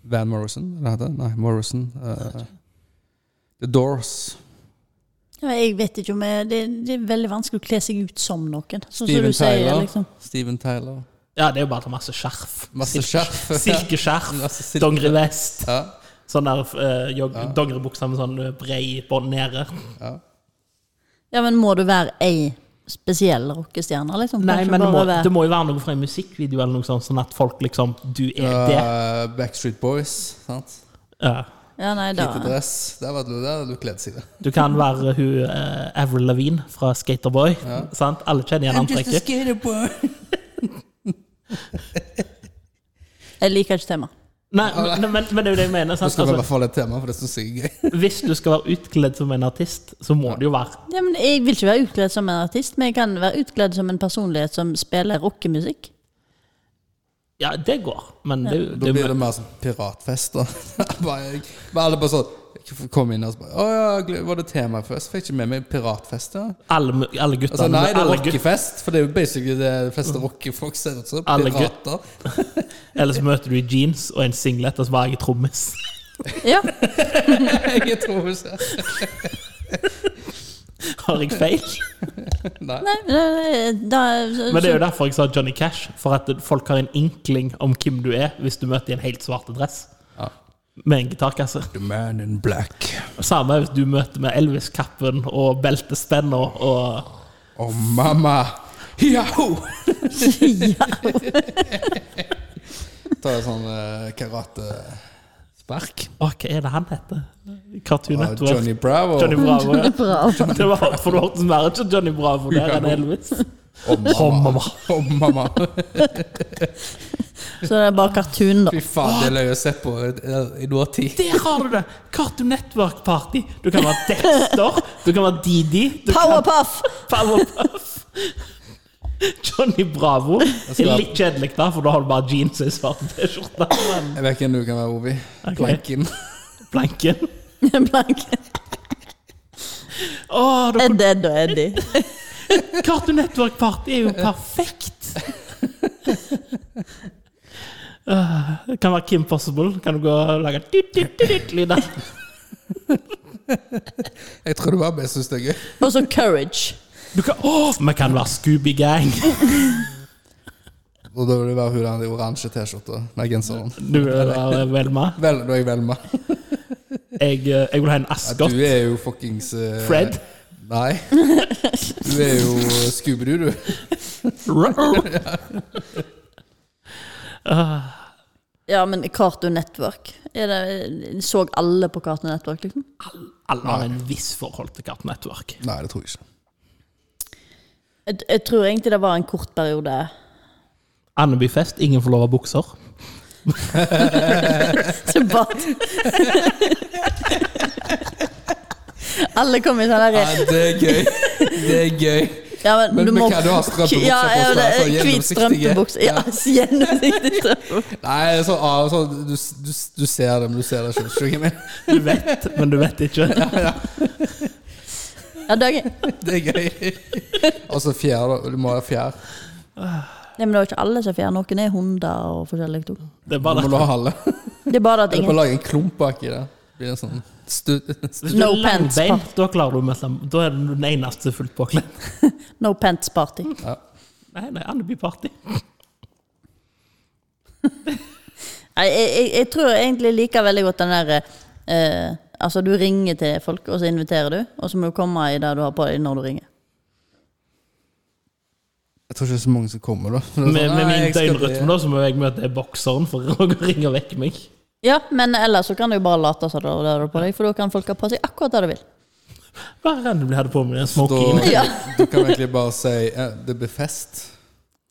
S3: Van Morrison? Hva heter det? Nei, Morrison. eh, The Doors.
S2: Sånn Ja, jeg vet ikke om jeg, det, det er veldig vanskelig å kle seg ut som noen. Sånn som
S3: Steven
S2: du sier,
S3: Tyler.
S2: liksom.
S3: Steven Tyler.
S4: ja, det er jo bare masse skjerf.
S3: Masse
S4: Silke-
S3: skjerf.
S4: Silkeskjerf,
S3: Masse silke-
S4: dongerivest,
S3: Ja.
S4: sånn der eh, jog- dongeribukser med sånn eh, brei bånd nede.
S2: Ja, men må du være ei spesiell rockestjerne, liksom?
S4: Nei,
S2: Kanskje
S4: men det
S2: bare
S4: må,
S2: være-
S4: det må jo være noe fra en musikkvideo eller noe sånt, sånn at folk liksom Du er det.
S3: Eh, Backstreet Boys. sant?
S4: Ja.
S2: Ja, nei, da.
S3: Hvite dress. Der var du, der hadde du kledd seg.
S4: Du kan være hun eh, Avril Lavigne fra Skaterboy. Sant? Alle kjenner igjen antrekket.
S3: skaterboy.
S2: Jeg liker ikke temaet.
S4: Nei, men, men, men det er jo det jeg mener.
S3: Nå
S4: Sant?
S3: skal vi i
S4: Altså,
S3: hvert fall et tema, for det syns jeg er gøy.
S4: Hvis du skal være utkledd som en artist, så må det jo være
S2: Ja, men jeg vil ikke være utkledd som en artist, men jeg kan være utkledd som en personlighet som spiller rockemusikk.
S4: Ja, det går, men det, det,
S3: Da blir det mer sånn piratfest, da. bare, jeg- bare alle bare sånn Kom inn og så bare Å ja, gle- var det tema først? Fikk ikke med meg piratfest, ja.
S4: alle,
S3: Altså,
S4: alle guttene
S3: nei, det er
S4: alle gut-
S3: rockefest, for det er jo basically det de fleste rockefolk ser ut som.
S4: Alle gutt-
S3: Pirater.
S4: Eller så møter du i jeans og en singlet, og så var jeg trommis.
S2: Ja,
S3: Jeg tror ikke
S4: Har jeg feil?
S3: Nei.
S2: nei, nei, da,
S4: Men det er jo derfor jeg sa Johnny Cash, for at folk har en inkling om hvem du er hvis du møter i en helt svart dress.
S3: Ja.
S4: Med en gitarkasse.
S3: The man in black.
S4: Samme hvis du møter med Elvis-kappen og beltespenna og
S3: Oh, mamma. Hiaho! Tar jeg sånn eh, karatespark.
S4: Å, hva er det han heter? Cartoon
S3: av
S4: Network.
S3: Johnny Bravo.
S4: Johnny Bravo. ja.
S2: Bra.
S4: Det var for det hørtes mer ut som Johnny Bravo der enn Elvis.
S3: Oh, mamma. Oh, mamma.
S2: Så det er bare cartoon, da.
S3: Fy faen, det er løye å se på eh, i nåtid.
S4: Der har du det! Cartoon Network Party. Du kan være Dexter, du kan være Didi, du
S2: Powerpuff!
S4: kan Powerpuff. Johnny Bravo. Det er litt kjedelig, da, for da har du bare jeans og en svart T-skjorte. Men
S3: Jeg vet ikke hvem du kan være, Ovi.
S4: Ok.
S3: Planken.
S4: Blanken.
S2: Blank.
S4: Å, da-
S2: Ed, Ed og Eddie.
S4: Cartoon Network Party er jo perfekt! Øh, Det kan være Kim Possible. Kan du gå og lage tut-tut-tut-lyder?
S3: Jeg tror det var bare jeg synes det er gøy.
S2: Og så Courage.
S4: Du kan Å, vi kan være Scooby Gang!
S3: Og da vil det være hun der i oransje T-skjorta. Nei, genseren.
S4: Du er der, Velma.
S3: Vel, da er jeg Velma.
S4: Jeg, eh, jeg vil ha en
S3: Ja,
S4: Ascot.
S3: Du er jo fuckings eh,
S4: Fred.
S3: Nei. Du er jo eh, Scooby-Doo, du.
S2: Ja, men Cartoon Network er det, Så alle på Cartoon Network, liksom?
S4: Alle har en viss forhold til Cartoon Network.
S3: Nei, det tror jeg ikke.
S2: Jeg, jeg tror egentlig det var en kort periode
S4: Andebyfest, ingen får lov av bukser.
S2: Tilbake. Alle kom i sånn derre
S3: Ja, det er gøy. Det er gøy.
S2: ja, men,
S3: Men
S2: du
S3: men
S2: må
S3: hva du har strømpebukser
S2: ja,
S3: på?
S2: ja,
S3: så
S2: det
S3: er det
S2: er Hvit
S3: sånn gjennomsiktige.
S2: strømpebukse. Ja, så gjennomsiktig strømpebukse.
S3: Nei, det er sånn, ah, sånn du, du, du ser det, men du ser det ikke. Skjønner du hva jeg mener?
S4: Du vet, men du vet ikke.
S2: Ja, dagen.
S3: Det er gøy. Og så fjær, da. Du må ha fjær.
S2: Nei, men det var ikke alle som fjerner. Noen er hunder og forskjellig. to.
S4: Det er
S3: Du
S4: bare
S3: må la halve.
S2: Det er bare at
S3: Eller bare
S2: ingen
S3: lage en klump baki der. Det Blir en sånn stu, stu.
S4: Hvis du
S2: No
S4: er
S2: pants
S4: langbeint, da klarer du mest Da er du den eneste fullt påkledd.
S2: No pants party.
S3: Ja.
S4: Nei, det er Andeby-party.
S2: Nei, jeg, jeg, jeg tror jeg egentlig liker veldig godt den der eh, Altså, du ringer til folk, og så inviterer du, og så må du komme i det du har på deg når du ringer.
S3: Jeg tror ikke det er så mange som kommer, da. Det er sånn,
S4: Med, med
S3: nei,
S4: min
S3: jeg skal
S4: døgnrytme
S3: bli-
S4: da, så må jeg møte bokseren for å ringe vekk meg.
S2: Ja, men ellers så kan du jo bare late som det det har du på deg, for da kan folk ha på seg akkurat det de vil.
S4: Bare enn du hadde på med en smoking.
S3: Da
S2: Ja.
S3: du kan vi egentlig bare si eh, det blir fest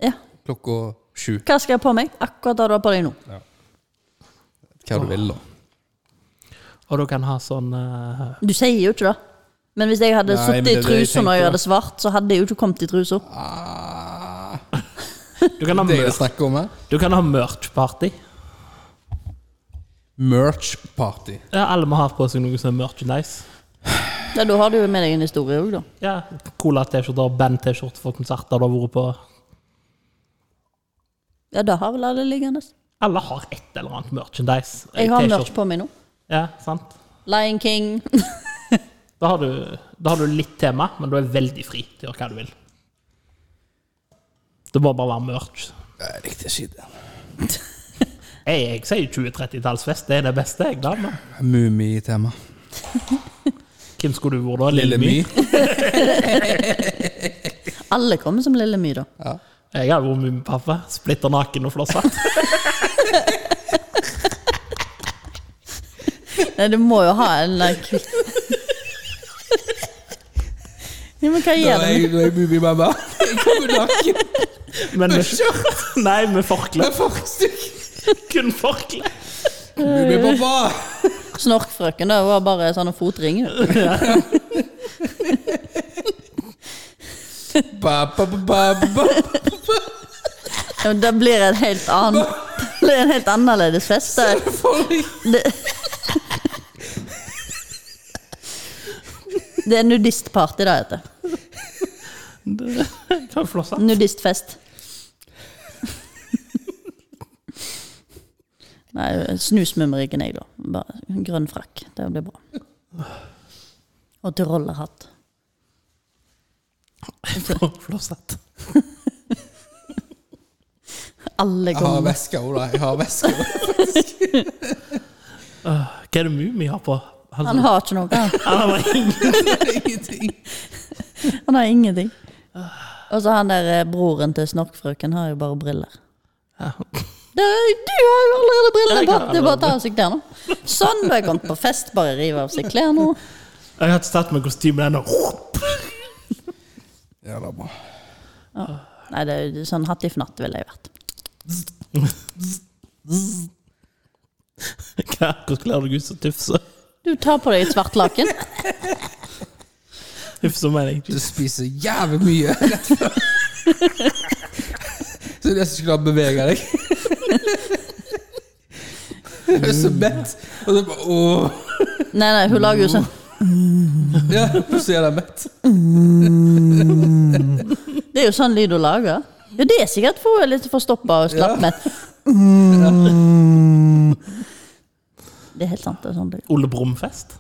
S2: Ja.
S3: klokka sju.
S2: Hva skal jeg ha på meg? Akkurat det du har på deg nå.
S3: Hva du vil, da.
S4: Og da kan ha sånn eh,
S2: Du sier jo ikke det. Men hvis jeg hadde
S3: Nei,
S2: sittet
S3: men det
S2: i
S3: er det jeg
S2: trusa når jeg
S3: tenker.
S2: hadde svart, så hadde jeg jo ikke kommet i trusa.
S3: Ah,
S4: Du kan ha,
S3: det jeg
S4: merch-
S3: snakker om her.
S4: du kan ha merch-party.
S3: Merch-party.
S4: Ja, alle må ha på seg noe som er merchandise.
S2: Ja, da har du jo med deg en historie òg, da.
S4: Ja, Cola-T-skjorter, band-T-skjorter for konserter du har vært på.
S2: Ja, det har vel alle liggende.
S4: Alle har et eller annet merchandise.
S2: Jeg har
S4: T-skjorte.
S2: merch på meg nå.
S4: Ja, sant?
S2: Lion King.
S4: Da har, du, da har du litt tema, men du er veldig fri til å gjøre hva du vil. Det må bare være merch.
S3: Jeg likte ikke det.
S4: Jeg, jeg sier 20-30-tallsfest, det er det beste. jeg da, men
S3: Mummitema.
S4: Hvem skulle du vært da?
S3: Lille My.
S2: Alle kommer som Lille My, da.
S4: Jeg hadde vært mummipappa. Splitter naken og flosshatt.
S2: Nei, du må jo ha en like kvitt. Ja, men hva
S3: Da
S2: gjør
S3: er
S2: du?
S3: jeg, da er jeg Mummimamma. Jeg kommer naken
S4: Men
S3: med
S4: med,
S3: skjørt
S4: nei, med forkle.
S3: med forstykk.
S4: Kun forkle.
S3: Mummipappa!
S2: Snorkfrøken da, var bare sånn fotring. hun.
S3: Ba, ba, ba, ba, ba.
S2: Ja, men det blir en helt annen det blir en helt annerledes fest. Det, det, det er nudistparty, det heter.
S4: Ta en flosshatt.
S2: Nudistfest. Nei, snusmumriken jeg, da. Bare grønn frakk. Det blir bra. Og tyrollerhatt.
S4: Flosshatt.
S2: Alle
S3: Jeg har
S2: kommer.
S3: veska òg, da. Jeg har veska.
S4: Hva er det Mummi har på?
S2: Han har ikke noe. han.
S4: Han har bare ingen.
S3: Ingenting.
S2: Han har ingenting. Og så han der eh, broren til snorkfrøken har jo bare briller.
S4: Ja.
S2: Det, du har jo allerede briller! Det er
S4: Jeg har
S2: bare- det er bare å ta av seg klærne. Sånn, da er jeg kommet på fest, bare rive av seg klær nå.
S4: Jeg har ikke tatt med kostyme ennå.
S3: Ja, det er bra.
S2: Nei, det er jo sånn hattifnatt ville jeg vært.
S4: Hva? Hvordan kler du deg ut som tufse?
S2: Du tar på deg et svart laken.
S4: Tufse mener jeg ikke.
S3: Du spiser jævlig mye rett før. Så du nesten ikke klarer å bevege deg. Jeg er så mett. Og så bare åh.
S2: Nei, nei, hun lager jo sånn
S3: Ja, plutselig er jeg mett.
S2: Det er jo sånn lyd hun lager. Ja, det er sikkert for hun er litt forstoppa og slappmett. Det er helt sant. det er sånn det er.
S4: Ole Brumm-fest.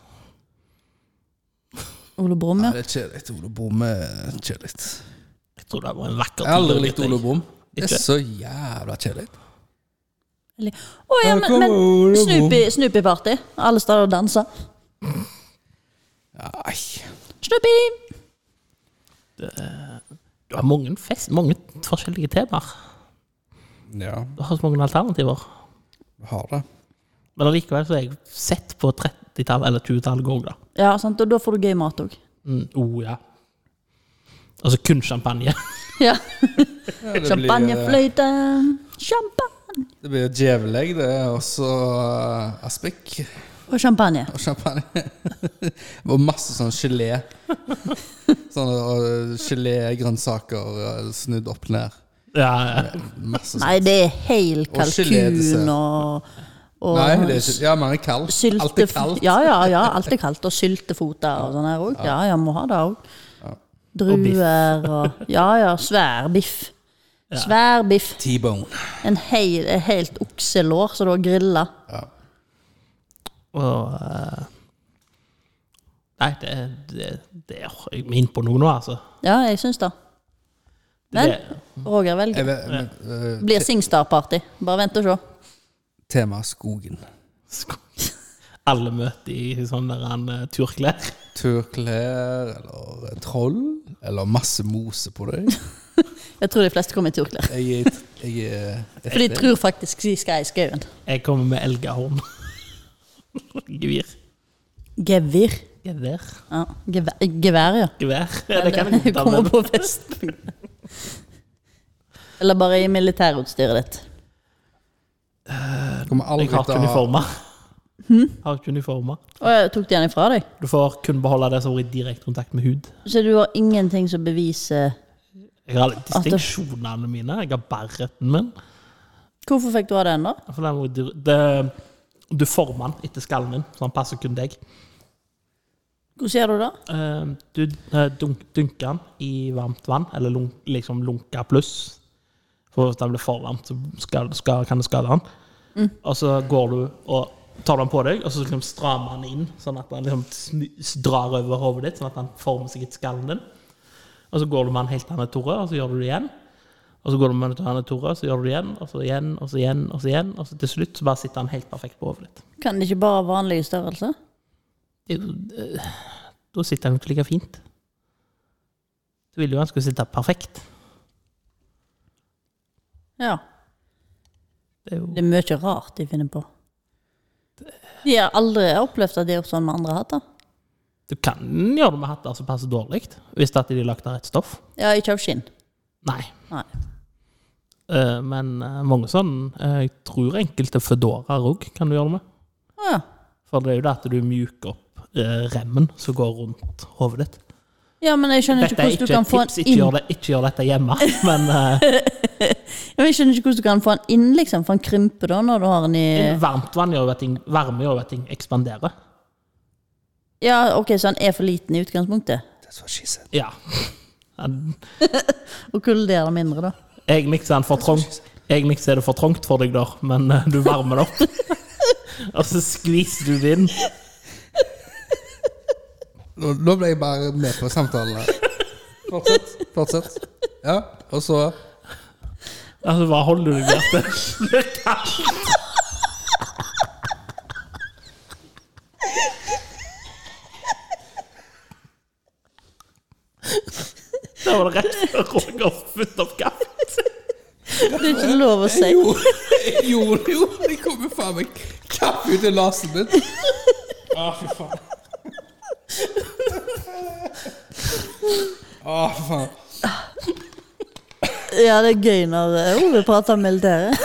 S2: Ole Brumm,
S3: Nei,
S2: ja.
S3: det er kjedelig. Ole Brumm er kjedelig. Jeg
S4: Jeg tror det var en vakker
S3: har aldri
S4: tid,
S3: likt
S4: jeg.
S3: Ole Brumm. Det
S4: Ikke?
S3: er så jævla kjedelig.
S2: Eller- Å ja,
S3: Her
S2: men,
S3: kommer Ole
S2: men
S3: Brumm.
S2: Snoopy- Snoopy-party. Alle står og danser.
S3: Nei.
S2: Snoopy!
S4: Du har mange fest, mange forskjellige temaer.
S3: Ja,
S4: Du har så mange alternativer.
S3: har det.
S4: Men allikevel så har jeg sett på 30-tallet eller 20-tallet går, da.
S2: Ja, sant, og da får du gøy mat òg.
S4: Mm, oh, ja. Mm, Altså kun champagne.
S2: Ja.
S3: Det blir- eh,
S2: Champagnefløyte. Champagne.
S3: Det blir djevelegg, det er også aspik
S2: Og champagne.
S3: og champagne. og masse sånn gelé. Sånne og gelégrønnsaker og snudd opp ned.
S4: Ja, ja.
S3: Masse sånn.
S2: Nei, det er hel
S3: Og gelédessert.
S2: kalkun og, og
S3: Nei, det er ikke Ja, men det er kaldt.
S2: sylte-
S3: Alt er kaldt.
S2: Ja, ja, ja, alt er kaldt. Og syltefoter og sånn her òg. Ja, ja, må ha det òg.
S4: Og biff.
S2: Druer og Ja, ja, svær biff. Svær biff.
S3: T-bone.
S2: En hel, et helt okselår som du har grilla.
S4: Og eh, Nei, det, det, det er vi inne på noe nå, altså.
S2: Ja, jeg syns det. Men
S4: Det-
S2: Roger velger.
S3: Jeg vet, men, eh,
S2: Blir Singstar-party. Bare vent og se.
S3: tema skogen.
S4: Skog. Alle møter i sånne der, eh, turklær.
S3: Turklær eller eh, troll eller masse mose på deg.
S2: Jeg tror de fleste kommer i turklær.
S3: Jeg er, jeg er et
S2: For de tror faktisk de skal i skauen.
S4: Jeg kommer med elgahorn. Gevir.
S2: Gevir.
S4: Gevær.
S2: Ja, gevær, gevær ja.
S4: Gevær. Ja, det kan jeg godt ta med.
S2: Kommer på festpunkt. Eller bare i militærutstyret ditt.
S3: Kommer aldri
S4: Jeg har
S3: til å
S4: ikke
S3: ha
S4: uniformer. Har ikke uniformer.
S2: Å, jeg tok den ifra deg.
S4: Du får kun beholde det som har vært i direkte kontakt med hud.
S2: Så du har ingenting som beviser
S4: Jeg har alle
S2: At det-
S4: distinksjonene mine. Jeg har barretten min.
S2: Hvorfor fikk du ha den, da?
S4: For den var jo dyr- det, du former den etter skallen min, så den passer kun deg.
S2: Hvordan gjør du det?
S4: Eh, Du eh, dunk, dunker den i varmt vann, eller lunk, liksom lunka pluss. For hvis den blir for varmt, så skal, skal, kan det skade den. Og så går du og tar den på deg, og så liksom strammer den inn, sånn at den liksom sny- s- drar over hodet ditt, sånn at den former seg etter skallen din. Og så går du med den helt til den er torr, og så gjør du det igjen. Og så går du med den til den er torr, og så gjør du det igjen, og så igjen, og så igjen, og så igjen. Og så til slutt så bare sitter den helt perfekt på hodet ditt.
S2: Kan det ikke bare ha vanlig størrelse?
S4: Det er jo- eh, Da sitter den ikke like fint. Du ville jo han skulle sitte perfekt.
S2: Ja.
S4: Det er jo
S2: Det er mye rart de finner på. De har aldri opplevd at de har gjort sånn med andre hatter.
S4: Du kan gjøre det med hatter som passer dårlig, hvis det at de er lagt av rett stoff.
S2: Ja, ikke av skinn.
S4: Nei.
S2: Nei.
S4: Eh, Men eh, mange sånn eh, Jeg tror enkelte fedoraer òg kan du gjøre det med.
S2: Å ja.
S4: For det er jo det at du mjuker opp eh, remmen som går rundt hodet ditt.
S2: Ja, men jeg skjønner
S4: Dette
S2: ikke
S4: er
S2: hvordan
S4: ikke
S2: du kan
S4: et
S2: få
S4: tips,
S2: den
S4: ikke
S2: inn.
S4: gjør, det, ikke gjør dette hjemme. Men eh,
S2: Ja, men Jeg skjønner ikke hvordan du kan få den inn, liksom. For den krymper da når du har den i
S4: varmt vann gjør jo at ting, varme gjør jo at ting ekspanderer.
S2: Ja, ok, så den er for liten i utgangspunktet.
S3: That's what she said.
S4: Ja. Den-
S2: Og kulderer mindre, da.
S4: Egentlig så er, den for trang. Egentlig så er det for trangt for deg der, men eh, du varmer det opp. Og så skviser du det inn.
S3: Nå, nå ble jeg bare med på samtalen. her. Fortsett. Fortsett. Ja, og så
S4: Altså, hva holder du deg der til? Det er kaldt. Da var det rett før Roger fylte opp kaffe.
S2: Det er ikke lov å si.
S3: Jo, jeg gjorde det jo! Det kommer faen meg kaffe ut i nesen min. Å, fy faen. Å, fy faen.
S2: Ja, det er gøy når eh, Ove prater om militæret.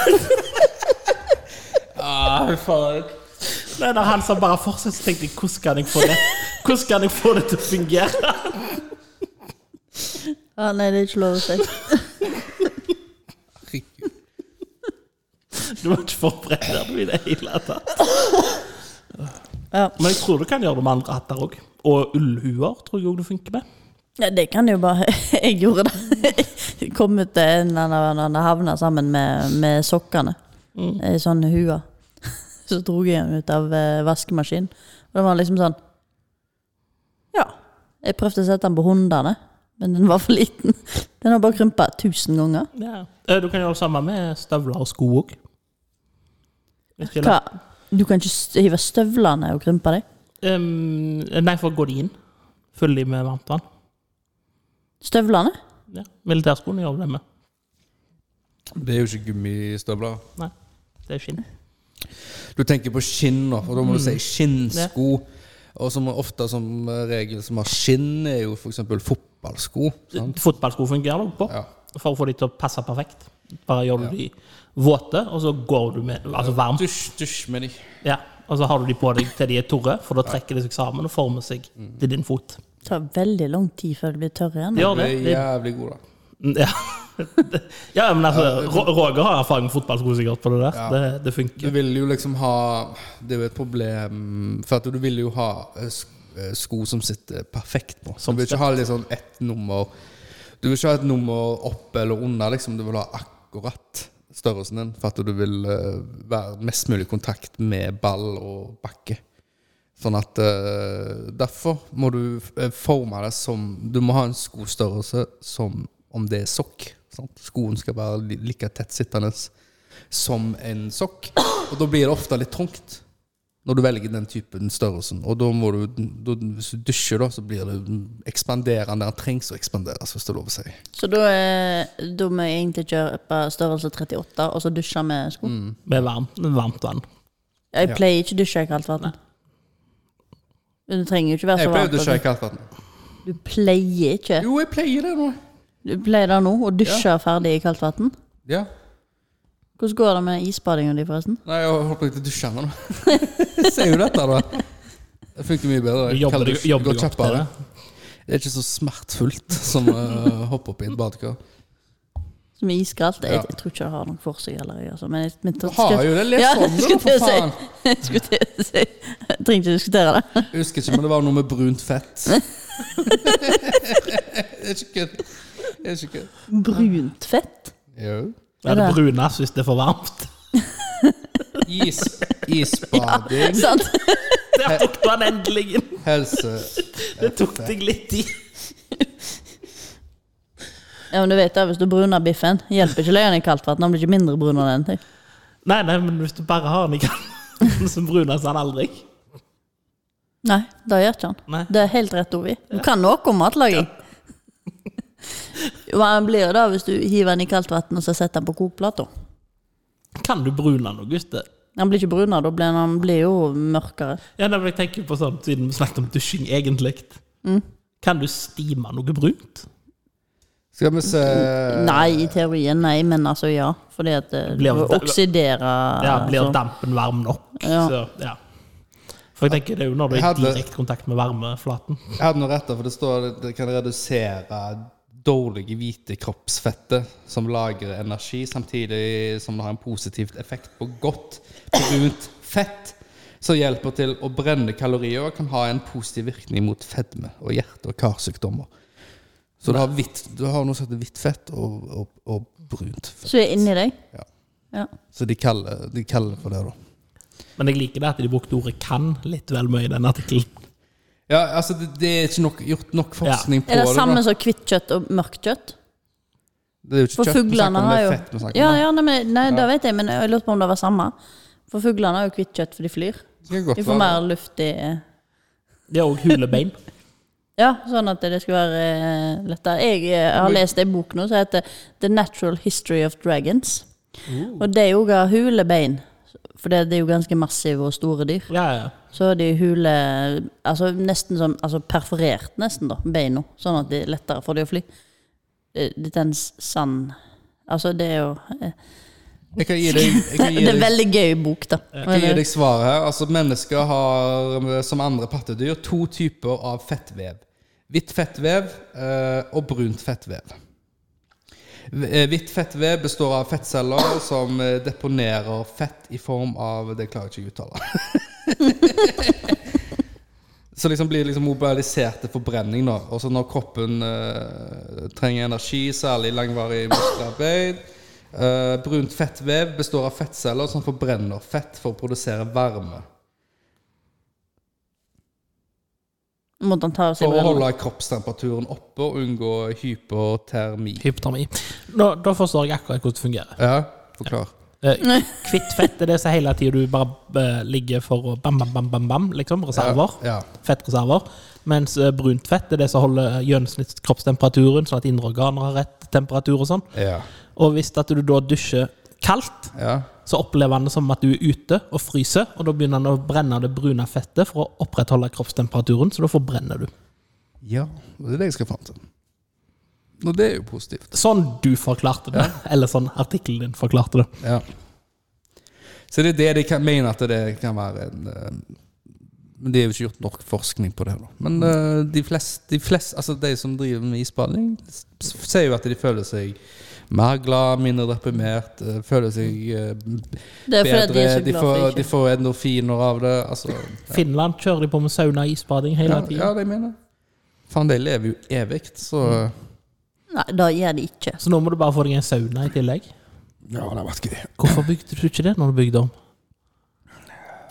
S3: Å, fy faen.
S4: Nei, da han sa bare fortsett, så tenkte jeg hvordan kan jeg få det Hvordan kan jeg få det til å fungere?
S2: Ja, nei, det er ikke lov å si.
S3: Herregud.
S4: Du var ikke forberedt der du i det hele tatt.
S2: Ja.
S4: Men jeg tror du kan gjøre det med andre hatter òg. Og ullhuer tror jeg òg det funker med.
S2: Ja, det kan jo bare Jeg gjorde det. Jeg Kom ut til en eller annen annen havna sammen med, med sokkene. I sånne hua. Så dro jeg den ut av eh, vaskemaskinen. Og den var liksom sånn Ja. Jeg prøvde å sette den på hundene, men den var for liten. Den har bare krympa tusen ganger.
S4: Eh, Du kan gjøre det samme med støvler og sko òg.
S2: Hva? Du kan ikke hive støvlene og krympe dem?
S4: eh, nei, for går de inn? Fyller de med varmt vann?
S2: Støvlene?
S4: Ja. Militærskoene gjør det med.
S3: Det er jo ikke gummistøvler.
S4: Nei, det er skinn.
S3: Du tenker på skinn nå, for da
S4: Mm.
S3: må du si skinnsko. Og som ofte som regel som har skinn, er jo f.eks. fotball. fotballsko. Sant?
S4: Fotballsko fungerer nok på,
S3: Ja.
S4: for å få de til å passe perfekt. Bare gjør du de våte, og så går du med altså varm.
S1: Dusj, dusj med de.
S4: Ja, og så har du de på deg til de er tørre, for da trekker de seg sammen og former seg
S3: Mm.
S4: til din fot.
S2: Det tar veldig lang tid før det blir tørr igjen.
S4: De gjør
S3: De
S4: det.
S3: er
S4: De,
S3: jævlig gode, da.
S4: Mm, ja. ja, men altså, Ro- Roger har erfaring med fotballsko sikkert på det der. Det, det
S3: Du
S4: funker.
S3: vil jo liksom ha Det er jo et problem, for at du vil jo ha eh, sk- eh, sko som sitter perfekt på. Du
S4: Som
S3: vil ikke ha litt sånn ett nummer Du vil ikke ha et nummer opp eller under, liksom. Du vil ha akkurat størrelsen din, for at du vil eh, være mest mulig i kontakt med ball og bakke. Sånn at eh, Derfor må du eh, forme det som Du må ha en skostørrelse som om det er sokk. Sant? Skoen skal være li- like tett sittende som en sokk. Og da blir det ofte litt trangt når du velger den typen størrelsen. Og da må du, da, hvis du dusjer, da, så blir det ekspanderende. Den trengs å ekspanderes, hvis det er lov å si.
S2: Så da, er, da må jeg egentlig kjøpe størrelse 38, og så dusje med sko.
S4: Med varm, varmt vann.
S2: Jeg pleier ikke å dusje i kaldt vann. Men det trenger jo ikke være
S3: Jeg
S2: så
S3: pleier å
S2: varmt.
S3: dusje i
S2: altså.
S3: kaldt vann.
S2: Du pleier ikke?
S3: Jo, jeg pleier det nå.
S2: Du pleier da nå å dusje ferdig i kaldt vann?
S3: Ja.
S2: Hvordan går det med isbadinga di, forresten?
S3: Nei, jeg holdt på å dusje nå. Jeg ser jo dette, da. Det funker mye bedre.
S4: Du jobber,
S3: Kald
S4: deg-
S3: dusj,
S4: jobber
S3: går
S4: deg opp til
S3: kjappere.
S4: det.
S3: Det er ikke så smertefullt som å hoppe opp i et badekar.
S2: Som er iskaldt? Jeg,
S3: Ja.
S2: jeg tror ikke det har noe for seg heller. jeg, Altså. Men jeg, men
S3: Du har jo det. Les
S2: Ja,
S3: om det, da,
S2: skulle jeg
S3: for
S2: si.
S3: faen.
S2: jeg skulle til å si Jeg trenger ikke å diskutere det.
S3: Jeg husker ikke, men det var noe med brunt fett. Det er ikke kødd. Det er ikke kødd.
S2: Brunt fett?
S3: Jo.
S4: Ja, det brunes hvis det er for varmt.
S3: Is, isbading,
S2: Sant?
S4: Der tok du den endelig inn!
S3: helse
S4: Det tok deg litt tid.
S2: Ja, men du vet det, Hvis du bruner biffen, hjelper ikke løyen i kaldt vann. Den blir ikke mindre brun av den. tenk.
S4: Nei, nei, men hvis du bare har den i kanten, så brunes den aldri.
S2: Nei, det gjør ikke han.
S4: Nei.
S2: Det er helt rett, Ovi. Du kan noe om matlaging. Hva den blir det da hvis du hiver den i kaldt vann og så setter den på kokeplata?
S4: Kan du brune noe, gutter?
S2: Den blir ikke brunere, da blir den, den blir jo mørkere.
S4: Ja, nei, men jeg tenker på sånn, Siden vi snakket om dusjing, egentlig. Kan du stime noe brunt?
S3: Skal vi se
S2: Nei, i teorien nei, men altså ja. Fordi at det
S4: Blir-
S2: du oksiderer
S4: Ja, Blir
S2: altså.
S4: dampen varm nok?
S2: Ja.
S4: Så, Eh, ja. For jeg tenker det er jo når du
S3: Jeg
S4: er i
S3: hadde-
S4: direkte kontakt med varmeflaten.
S3: Jeg hadde noe rett, der, for det står at det kan redusere dårlige hvite kroppsfettet som lagrer energi, samtidig som det har en positivt effekt på godt brunt fett, som hjelper til å brenne kalorier og kan ha en positiv virkning mot fedme og hjerte- og karsykdommer. Så du har, hvitt, du har noe som heter hvitt fett og, og, og brunt fett.
S2: Så er det inni deg?
S3: Ja.
S2: Ja.
S3: Så de kaller, de kaller for det, da.
S4: Men jeg liker det at de brukte ordet 'kan' litt vel mye i den artikkelen.
S3: Ja, altså det, det er ikke nok, gjort nok forskning på
S2: Er det
S3: da.
S2: samme som hvitt kjøtt og mørkt kjøtt?
S3: Det er jo ikke
S2: For
S3: kjøtt vi snakker
S2: fuglene
S3: om,
S2: har
S3: det
S2: jo
S3: er fett vi snakker
S2: Ja,
S3: om.
S2: ja, nei, men, nei det vet jeg, men jeg lurte på om det var samme. For fuglene har jo hvitt kjøtt, for de flyr.
S3: Det kan godt
S2: De får
S3: være.
S2: mer luft i
S4: Det er òg hulebein.
S2: Ja, sånn at det skal være eh, lettere. Jeg eh, har lest ei bok nå som heter The Natural History of Dragons.
S3: Oh.
S2: Og de òg har hulebein, for det det er jo ganske massive og store dyr.
S4: Ja, ja.
S2: Så har de hule Altså nesten som altså perforert, nesten, da, beina. Sånn at det er lettere for de å fly. Det, det er en s- sand Altså, det er jo eh,
S3: Jeg kan gi deg, jeg kan gi
S2: Det er
S3: deg,
S2: veldig gøy bok, da.
S3: jeg kan gi deg svaret her. Altså, mennesker har, som andre pattedyr, to typer av fettvev. Hvitt fettvev eh, og brunt fettvev. Eh, Hvitt fettvev består av fettceller som eh, deponerer fett i form av Det klarer jeg ikke å uttale. Så liksom blir det liksom mobilisert til forbrenning. da Og så når kroppen eh, trenger energi, særlig langvarig muskelarbeid eh, Brunt fettvev består av fettceller som forbrenner fett for å produsere varme.
S2: Måtte eh, han ta av seg
S3: For å
S2: brillene?
S3: holde kroppstemperaturen oppe og unngå hypotermi.
S4: Hypotermi. Nå, da forstår jeg akkurat hvordan det fungerer.
S3: Ja, forklar.
S4: Eh, Kvitt fett er det som hele tida du bare eh, ligger for å bam, bam, bam, bam, bam liksom. Reserver.
S3: Ja.
S4: fettreserver. Mens eh, brunt fett er det som holder gjennomsnittskroppstemperaturen, sånn at indre organer har rett temperatur og sånn.
S3: Ja.
S4: Og hvis at du da dusjer kaldt,
S3: ja.
S4: så opplever han det som at du er ute og fryser, og da begynner han å brenne det brune fettet for å opprettholde kroppstemperaturen, så da forbrenner du.
S3: Ja, det er det jeg skal fram til. Og det er jo positivt.
S4: Sånn du forklarte det, eller sånn artikkelen din forklarte det.
S3: Ja. Så det er det de kan mene at det kan være en eh, Men det er jo ikke gjort nok forskning på det. da. Men eh, de fleste, de flest, altså de som driver med isbading, s- sier jo at de føler seg mer glad, mindre deprimert, eh, føler seg eh,
S2: Det er fordi
S3: bedre.
S2: de er så
S3: De
S2: glad
S3: får,
S2: for
S3: de
S2: ikke
S3: får endorfiner av det. Altså,
S4: Finland kjører de på med sauna og isbading hele
S3: ja,
S4: tiden.
S3: ja, de mener det. Faen, de lever jo evig, så eh,
S2: Nei, det gjør de ikke.
S4: Så nå må du bare få deg en sauna i tillegg.
S3: Ja, det har vært gøy.
S4: Hvorfor bygde du ikke det når du bygde om?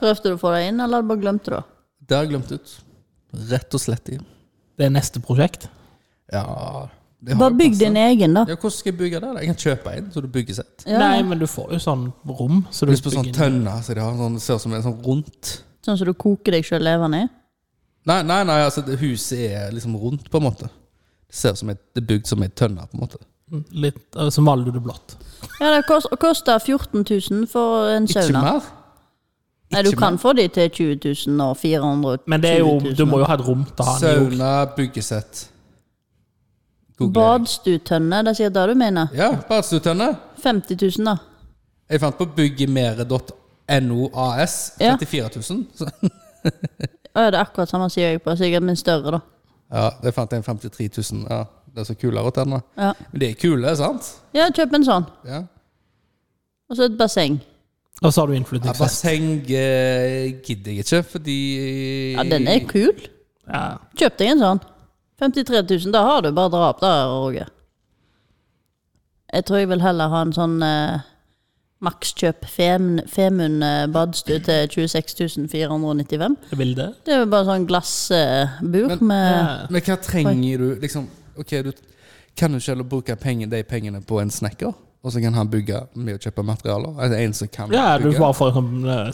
S2: Prøvde du å få det inn, eller bare glemte du det?
S3: Det har jeg glemt ut. Rett og slett. i.
S4: Det er neste prosjekt.
S3: Ja det har
S2: Bare
S3: jo
S2: bygg
S3: passet.
S2: din
S4: altså.
S2: egen, da.
S3: Ja, hvordan skal jeg bygge det? da? Jeg kan kjøpe en, så du bygger sett.
S2: Ja,
S4: Nei, men du får jo sånn rom. Så du
S3: Hvis på sånn
S4: bygger-
S3: tønne, så de har sånn, ser ut som en sånn rundt.
S2: Sånn som du koker deg sjøl levende i.
S3: Nei, nei, nei, altså det huset er liksom rundt, på en måte. Det ser ut som et, det er bygd som ei tønne, på en måte.
S4: Litt, så maler du det blått.
S2: Ja, det kost, koster 14 000 for en
S3: Ikke
S2: sauna.
S3: mer?
S2: Nei, du
S3: ikke
S2: kan få de til 20 000 og 400 000.
S4: Men det er jo, du må jo ha et rom til å ha den i.
S3: Sauna, byggesett. Google.
S2: Badstutønne, det er sikkert det du mener.
S3: Ja, badstuetønne.
S2: 50 000, da.
S3: Jeg fant på byggemere.noas.
S2: Ja.
S3: 34 000. Så,
S2: Å, ja, det er akkurat samme sier jeg på. Sikkert min større, da.
S3: ja, det fant jeg en 53 000. Ja, det er så kulere tenner.
S2: Ja,
S3: Men de er kule, sant?
S2: ja kjøp en sånn.
S3: Ja.
S2: Og så et basseng.
S4: Og så har du
S3: Ja,
S4: innflytningsfest.
S3: basseng eh, gidder jeg ikke, fordi
S2: Ja, den er kul.
S4: Ja.
S2: Kjøp deg en sånn. 53 000, da har du bare drap da, Roger. Jeg tror jeg vil heller ha en sånn eh, makskjøp Fem, Femund eh, badstue til 26 495.
S4: Jeg vil det.
S2: Det er jo bare sånn glassbur med
S3: Men hva trenger du liksom Ok, du kan jo ikke heller bruke penger, de pengene på en snekker, og så kan han bygge med å kjøpe materialer? Altså en som kan
S4: Ja, du
S3: bygge?
S4: bare får en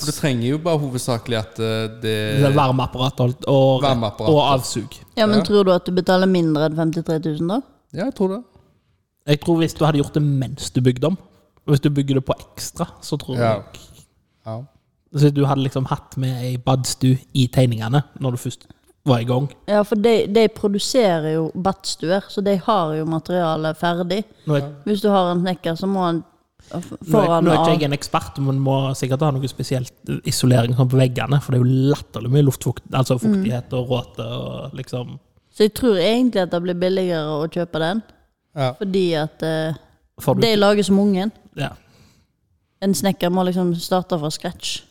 S4: sånn
S3: Du trenger jo bare hovedsakelig at eh, det
S4: Det er varmeapparat og, og,
S3: Varmeapparat.
S4: og avsug.
S2: Ja, men
S3: Ja.
S2: tror du at du betaler mindre enn 53 000 da?
S3: Ja, jeg tror det.
S4: Jeg tror hvis du hadde gjort det mens du bygde om Hvis du bygger det på ekstra, så
S2: Mm.
S4: tror
S3: Ja.
S4: jeg
S3: Ja.
S4: Så Hvis du hadde liksom hatt med ei badstue i tegningene når du først var i gang
S2: Ja, for de, de produserer jo badstuer, så de har jo materialet ferdig.
S4: Nå er,
S2: Hvis du har en snekker, så må han f-
S4: nå er,
S2: foran
S4: nå er ikke
S2: av
S4: jeg en ekspert, men må sikkert ha noe spesielt isolering sånn på veggene, for det er jo latterlig mye luftfukt, altså
S2: Mm.
S4: fuktighet og råte og liksom
S2: Så jeg tror egentlig at det blir billigere å kjøpe den,
S3: Ja.
S2: fordi at eh,
S4: får du,
S2: de lager så mange.
S4: ja.
S2: En snekker må liksom starte fra scratch.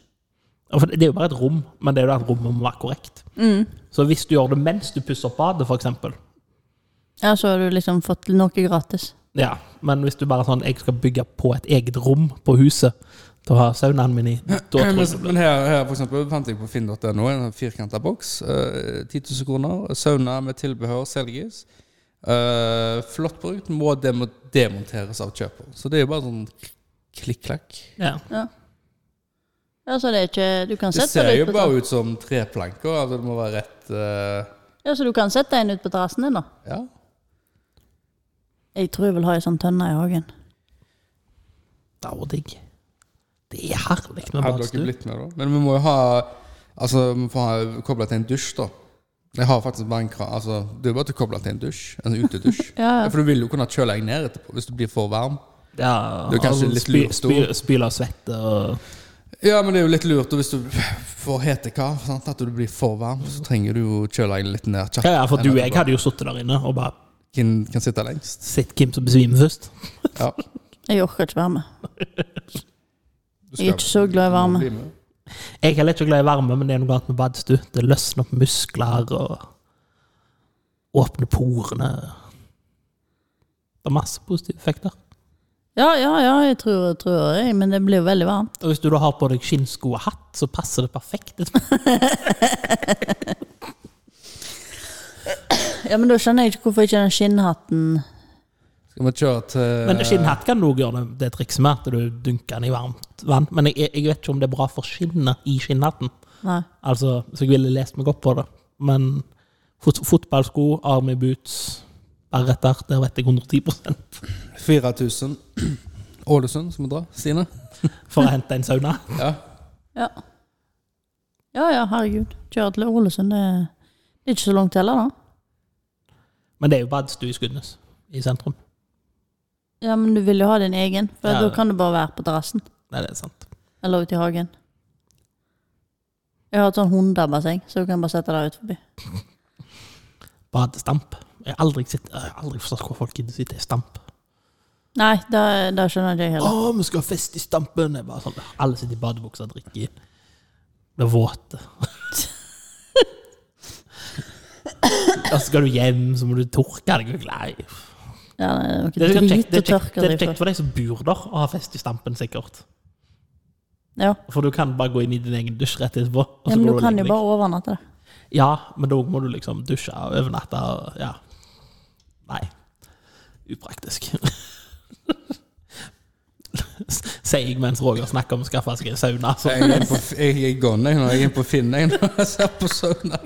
S4: Ja, For det er jo bare et rom, men det er jo det at rommet må være korrekt.
S2: Mm.
S4: Så hvis du gjør det mens du pusser opp badet, f.eks.
S2: Ja, så har du liksom fått noe gratis.
S4: Ja, men hvis du bare sånn Jeg skal bygge på et eget rom på huset til å ha saunaen min i. Da tror
S3: Men,
S4: jeg det blir-
S3: men her, her for eksempel, fant jeg på finn.no en firkanta boks. eh, 10 000 kroner. Sauna med tilbehør selges. Eh, flott brukt. Må demo demonteres av kjøper. Så det er jo bare sånn klikk-klakk.
S4: ja.
S2: Ja, så det er ikke Du kan
S3: Det
S2: sette
S3: ser
S2: det
S3: jo
S2: ut på
S3: bare
S2: terrassen.
S3: ut som treplanker. Altså det må være rett eh,
S2: Ja, så du kan sette en ut på terrassen din, da.
S3: Ja.
S2: Jeg tror jeg vil ha ei sånn tønne i hagen.
S4: Det er jo digg. Det er herlig
S3: Hadde
S4: med
S3: dere
S4: badstue.
S3: blitt med, da? Men vi må jo ha Altså, vi får ha kobla til en dusj, da. Jeg har faktisk vannkran. Altså, det er jo bare til å koble til en dusj. En utedusj.
S2: Ja, ja.
S3: For du vil jo kunne kjøle deg ned etterpå hvis du blir for varm.
S4: Ja, altså,
S3: Det er kanskje litt lurt
S4: spy, Spyle og svette og
S3: Ja, men det er jo litt lurt og hvis du får hetekar, sant? at du blir for varm, så trenger du jo kjøle deg litt ned. kjapt.
S4: ja, ja, for du og jeg
S3: Etterpå.
S4: hadde jo sittet der inne og bare
S3: Hvem kan sitte lengst?
S4: sett hvem som besvimer først.
S3: Ja.
S2: Jeg orker ikke være med.
S3: Du
S2: Jeg er ikke så glad i
S3: du må
S2: varme.
S3: bli med.
S4: Jeg er heller ikke glad i varme, men det er noe annet med badstue. Det løsner opp muskler og åpner porene. Det er masse positive effekter.
S2: Ja, ja, ja, jeg tror, tror jeg, men det blir jo veldig varmt.
S4: Og hvis du da har på deg skinnsko og hatt, så passer det perfekt.
S2: Ja, men da skjønner jeg ikke hvorfor ikke den skinnhatten
S3: Skal vi kjøre til
S4: Men skinnhatt kan du også gjøre det, det trikset med, at du dunker den i varmt vann. Men jeg, jeg vet ikke om det er bra for skinnet i skinnhatten.
S2: Nei.
S4: Altså, så jeg ville lest meg opp på det. Men fot, fotballsko, army boots, berretter, der vet jeg 110
S3: 4000 Ålesund, skal vi dra? Stine?
S4: for å hente en sauna.
S3: Ja.
S2: Ja. Ja ja, herregud. Kjøre til Ålesund, det, det er ikke så langt heller, da.
S4: Men det er jo badstue i Skudenes. i sentrum.
S2: Ja, men du vil jo ha din egen, for
S4: Ja.
S2: da kan du bare være på terrassen.
S4: Nei, det er sant.
S2: Eller ute i hagen. Jeg har et sånn hundebasseng, så du kan bare sette deg ut forbi.
S4: Badestamp. Jeg har aldri, sett, jeg har aldri forstått hvor folk gidder å sitte i stamp.
S2: Nei, det, det skjønner ikke jeg
S4: Å,
S2: heller.
S4: vi skal ha fest i stampen! Jeg bare sånn, alle sitter i badebukser og drikker. Blir våte. Og så skal du hjem, så må du tørke deg. Nei.
S2: Ja, det er jo
S4: Det
S2: ikke
S4: er
S2: drit
S4: kjekt,
S2: å
S4: det er kjekt,
S2: tørke
S4: det er
S2: seg
S4: kjekt
S2: for.
S4: for deg som bor der, å ha fest i stampen, sikkert.
S2: Ja.
S4: For du kan bare gå inn i din egen dusj rett etterpå. og så
S2: ja, men
S4: går
S2: du
S4: og
S2: kan
S4: legger
S2: jo
S4: deg.
S2: bare overnatte det.
S4: Ja, men da må du liksom dusje og overnatte og Ja. Nei. Upraktisk. Sier jeg mens Roger snakker om å skaffe seg en sauna. Så.
S3: Jeg er på, jeg er gone jeg, nå. Jeg er på Finn jeg, når jeg ser på sauna.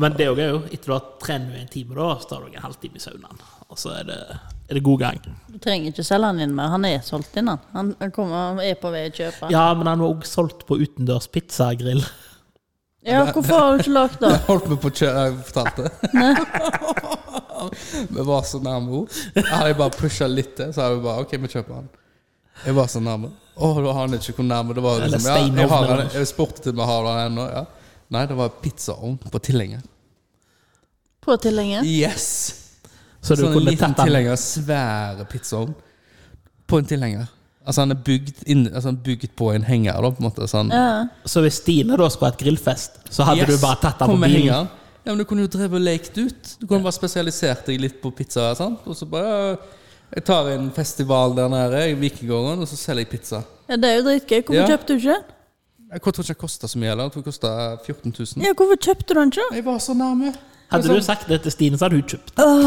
S4: Men det er jo etter du har trent i en time, da, så tar du en halvtime i saunaen. Og så er det, er det god gang.
S2: Du trenger ikke selge den inn mer, han er solgt inn, han. Han, han kommer, han er på vei å kjøpe.
S4: Ja, men han var òg solgt på utendørs pizzagrill.
S2: Ja, hvorfor har du ikke lagt det?
S3: Jeg holdt meg på å kjøre, jeg fortalte det. Vi var så nærme henne. Hadde jeg bare pusha litt til, så hadde vi bare OK, vi kjøper han. Jeg var så nærme. Å, da har han ikke hvor nærme det var.
S4: Eller
S3: Liksom. Ja, jeg, har
S4: steinovn,
S3: han,
S4: eller?
S3: jeg spurte til om jeg har han ennå. Ja. Nei, det var pizzaovn på tilhenger.
S2: På tilhengen?
S3: Yes!
S4: Så du
S3: Sånn en
S4: kunne
S3: liten
S4: tatt han
S3: tilhenger, svære pizzaovn på en tilhenger. Altså han er bygd, inn, altså han er bygd på en henger, da, på en måte. Sånn.
S2: Ja.
S4: Så hvis Stine da skulle hatt grillfest, så hadde
S3: Yes,
S4: du bare tatt han
S3: kom
S4: på
S3: med
S4: bilen?
S3: hengeren. Ja, men Du kunne jo drevet og lekt ut. Du kunne bare spesialisert deg litt på pizza. Sant? Og så bare Jeg tar en festival der nede i Vikingården, og så selger jeg pizza.
S2: ja, det er jo dritgøy. Hvorfor
S3: Ja.
S2: kjøpte du ikke den?
S3: Jeg tror ikke det kosta så mye heller. Jeg tror det kosta 14 000.
S2: Ja, hvorfor kjøpte du den ikke?
S3: Jeg var så nærme.
S4: Hadde
S3: sånn.
S4: du sagt det til Stine, så hadde hun kjøpt. den.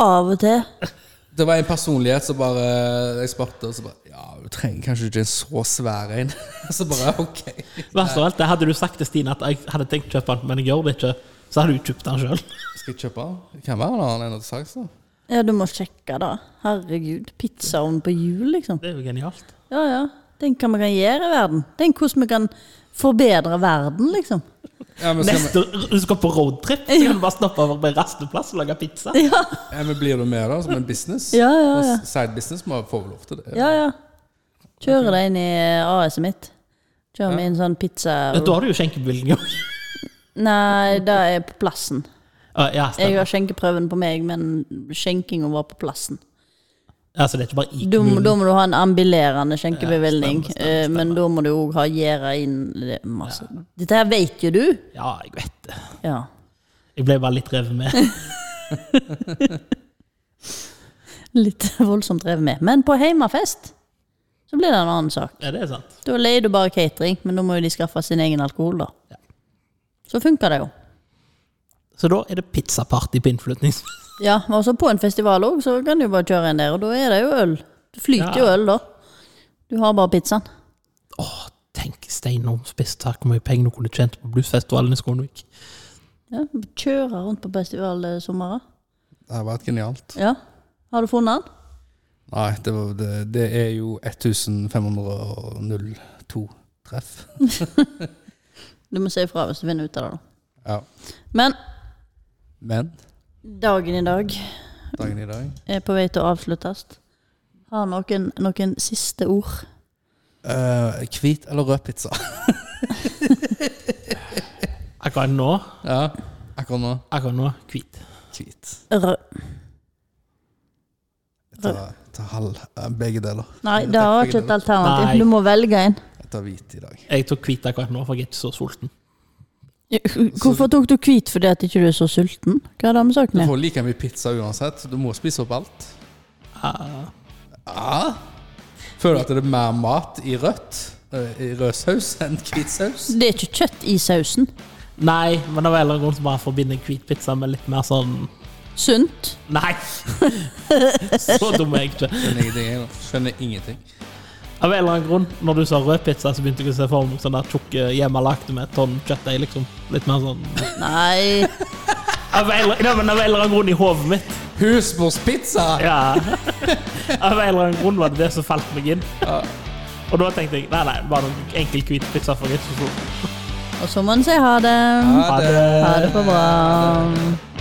S2: Av og til.
S3: sånn- Det var en personlighet som bare Jeg spurte, og så bare Ja, du trenger kanskje ikke en så svær en. så bare OK.
S4: Verst av alt, det hadde du sagt til Stine at jeg hadde tenkt å kjøpe den, men jeg gjør det ikke, så hadde hun kjøpt den sjøl.
S3: Skal jeg kjøpe den? Kan være en annen enn til salgs, da.
S2: Ja, du må sjekke da. Herregud, pizzaovn på jul, liksom.
S4: Det er jo genialt.
S2: Ja, ja. Tenk hva vi kan gjøre i verden. Tenk hvordan vi kan forbedre verden, liksom.
S3: Ja, men skal vi-
S4: Neste, du skal på roadtrip, så kan du bare stoppe over på en rasteplass og lage pizza.
S2: Ja,
S3: ja, men blir du med, da? Som en business?
S2: Ja, ja, ja.
S3: Og Side business må få lov til det.
S2: ja. ja. Kjøre det inn i AS-et mitt. Kjøre med inn sånn pizza...
S4: Da har du jo skjenkebevilgning òg.
S2: Nei, det er på plassen.
S4: Ja,
S2: Jeg
S4: stemmer.
S2: har skjenkeprøven på meg, men skjenkinga var på plassen.
S4: Altså, det er ikke bare i
S2: Da må
S4: kommunen.
S2: da må du ha en ambulerende skjenkebevilgning,
S4: Ja, stemmer, stemmer,
S2: eh, men da må du òg ha gjerdet inn det, er masse. Dette her vet jo du.
S4: Ja, jeg vet det.
S2: Ja.
S4: Jeg ble bare litt revet med.
S2: Litt voldsomt drevet med. Men på heimafest så blir det en annen sak.
S4: Ja, det er sant.
S2: Da leier du bare catering, men da må jo de skaffe sin egen alkohol, da.
S4: Ja.
S2: Så funker det jo.
S4: Så da er det pizzaparty på innflytnings...
S2: Ja, men også på en festival òg, så kan du jo bare kjøre inn der, og da er det jo øl. Det flyter jo
S4: Ja.
S2: øl, da. Du har bare pizzaen.
S4: Åh, tenk Steinar spiste her, hvor mye penger du kunne tjent på bluesfestivalen i Skånevik.
S2: Ja, kjøre rundt på festivalsommerer.
S3: Det har vært genialt.
S2: Ja. Har du funnet den?
S3: Nei, det, var, det, det er jo 1502 treff.
S2: Du må si ifra hvis du finner ut av det. da.
S3: Ja.
S2: Men
S3: Men
S2: dagen i dag
S3: dagen i dag
S2: er på vei til å avsluttes. Har noen noen siste ord?
S3: Eh, Hvit eller rød pizza?
S4: Akkurat nå,
S3: ja, akkurat nå.
S4: akkurat nå, hvit.
S3: Hvit.
S2: Rød.
S3: Jeg tar, tar halv eh, Begge deler.
S2: Nei, det har ikke et alternativ.
S4: Nei.
S2: Du må velge en.
S3: Jeg tar hvit i dag.
S4: Jeg tok hvit akkurat nå, for jeg er ikke så sulten.
S2: Hvorfor tok du hvit fordi at ikke du er så sulten? Hva har det med
S3: Du
S2: saken å gjøre?
S3: får like mye pizza uansett, så du må spise opp alt.
S4: Ah,
S3: Ja. Føler du at det er mer mat i rødt, eh, i rød saus, enn hvit saus?
S2: Det er ikke kjøtt i sausen.
S4: nei, men det var heller noen som bare forbinder hvit pizza med litt mer sånn
S2: Sunt.
S4: Nei! Så dum er jeg ikke.
S3: Skjønner ingenting. jeg nå. Skjønner ingenting.
S4: Av en eller annen grunn, når du sa rød pizza, så begynte jeg å se for meg sånn der tjukke hjemmelagte med et tonn kjøttdeig, liksom. Litt mer sånn
S2: Nei.
S4: Av en eller, ja, men av en eller annen grunn i hodet mitt.
S3: Husmorspizza!
S4: Ja. Av en eller annen grunn var det det som falt meg inn. Og da tenkte jeg nei, nei, bare noen enkel hvit pizza fra Ritz.
S2: Og så må en si ha det.
S3: Ha det.
S2: Ha det på bra.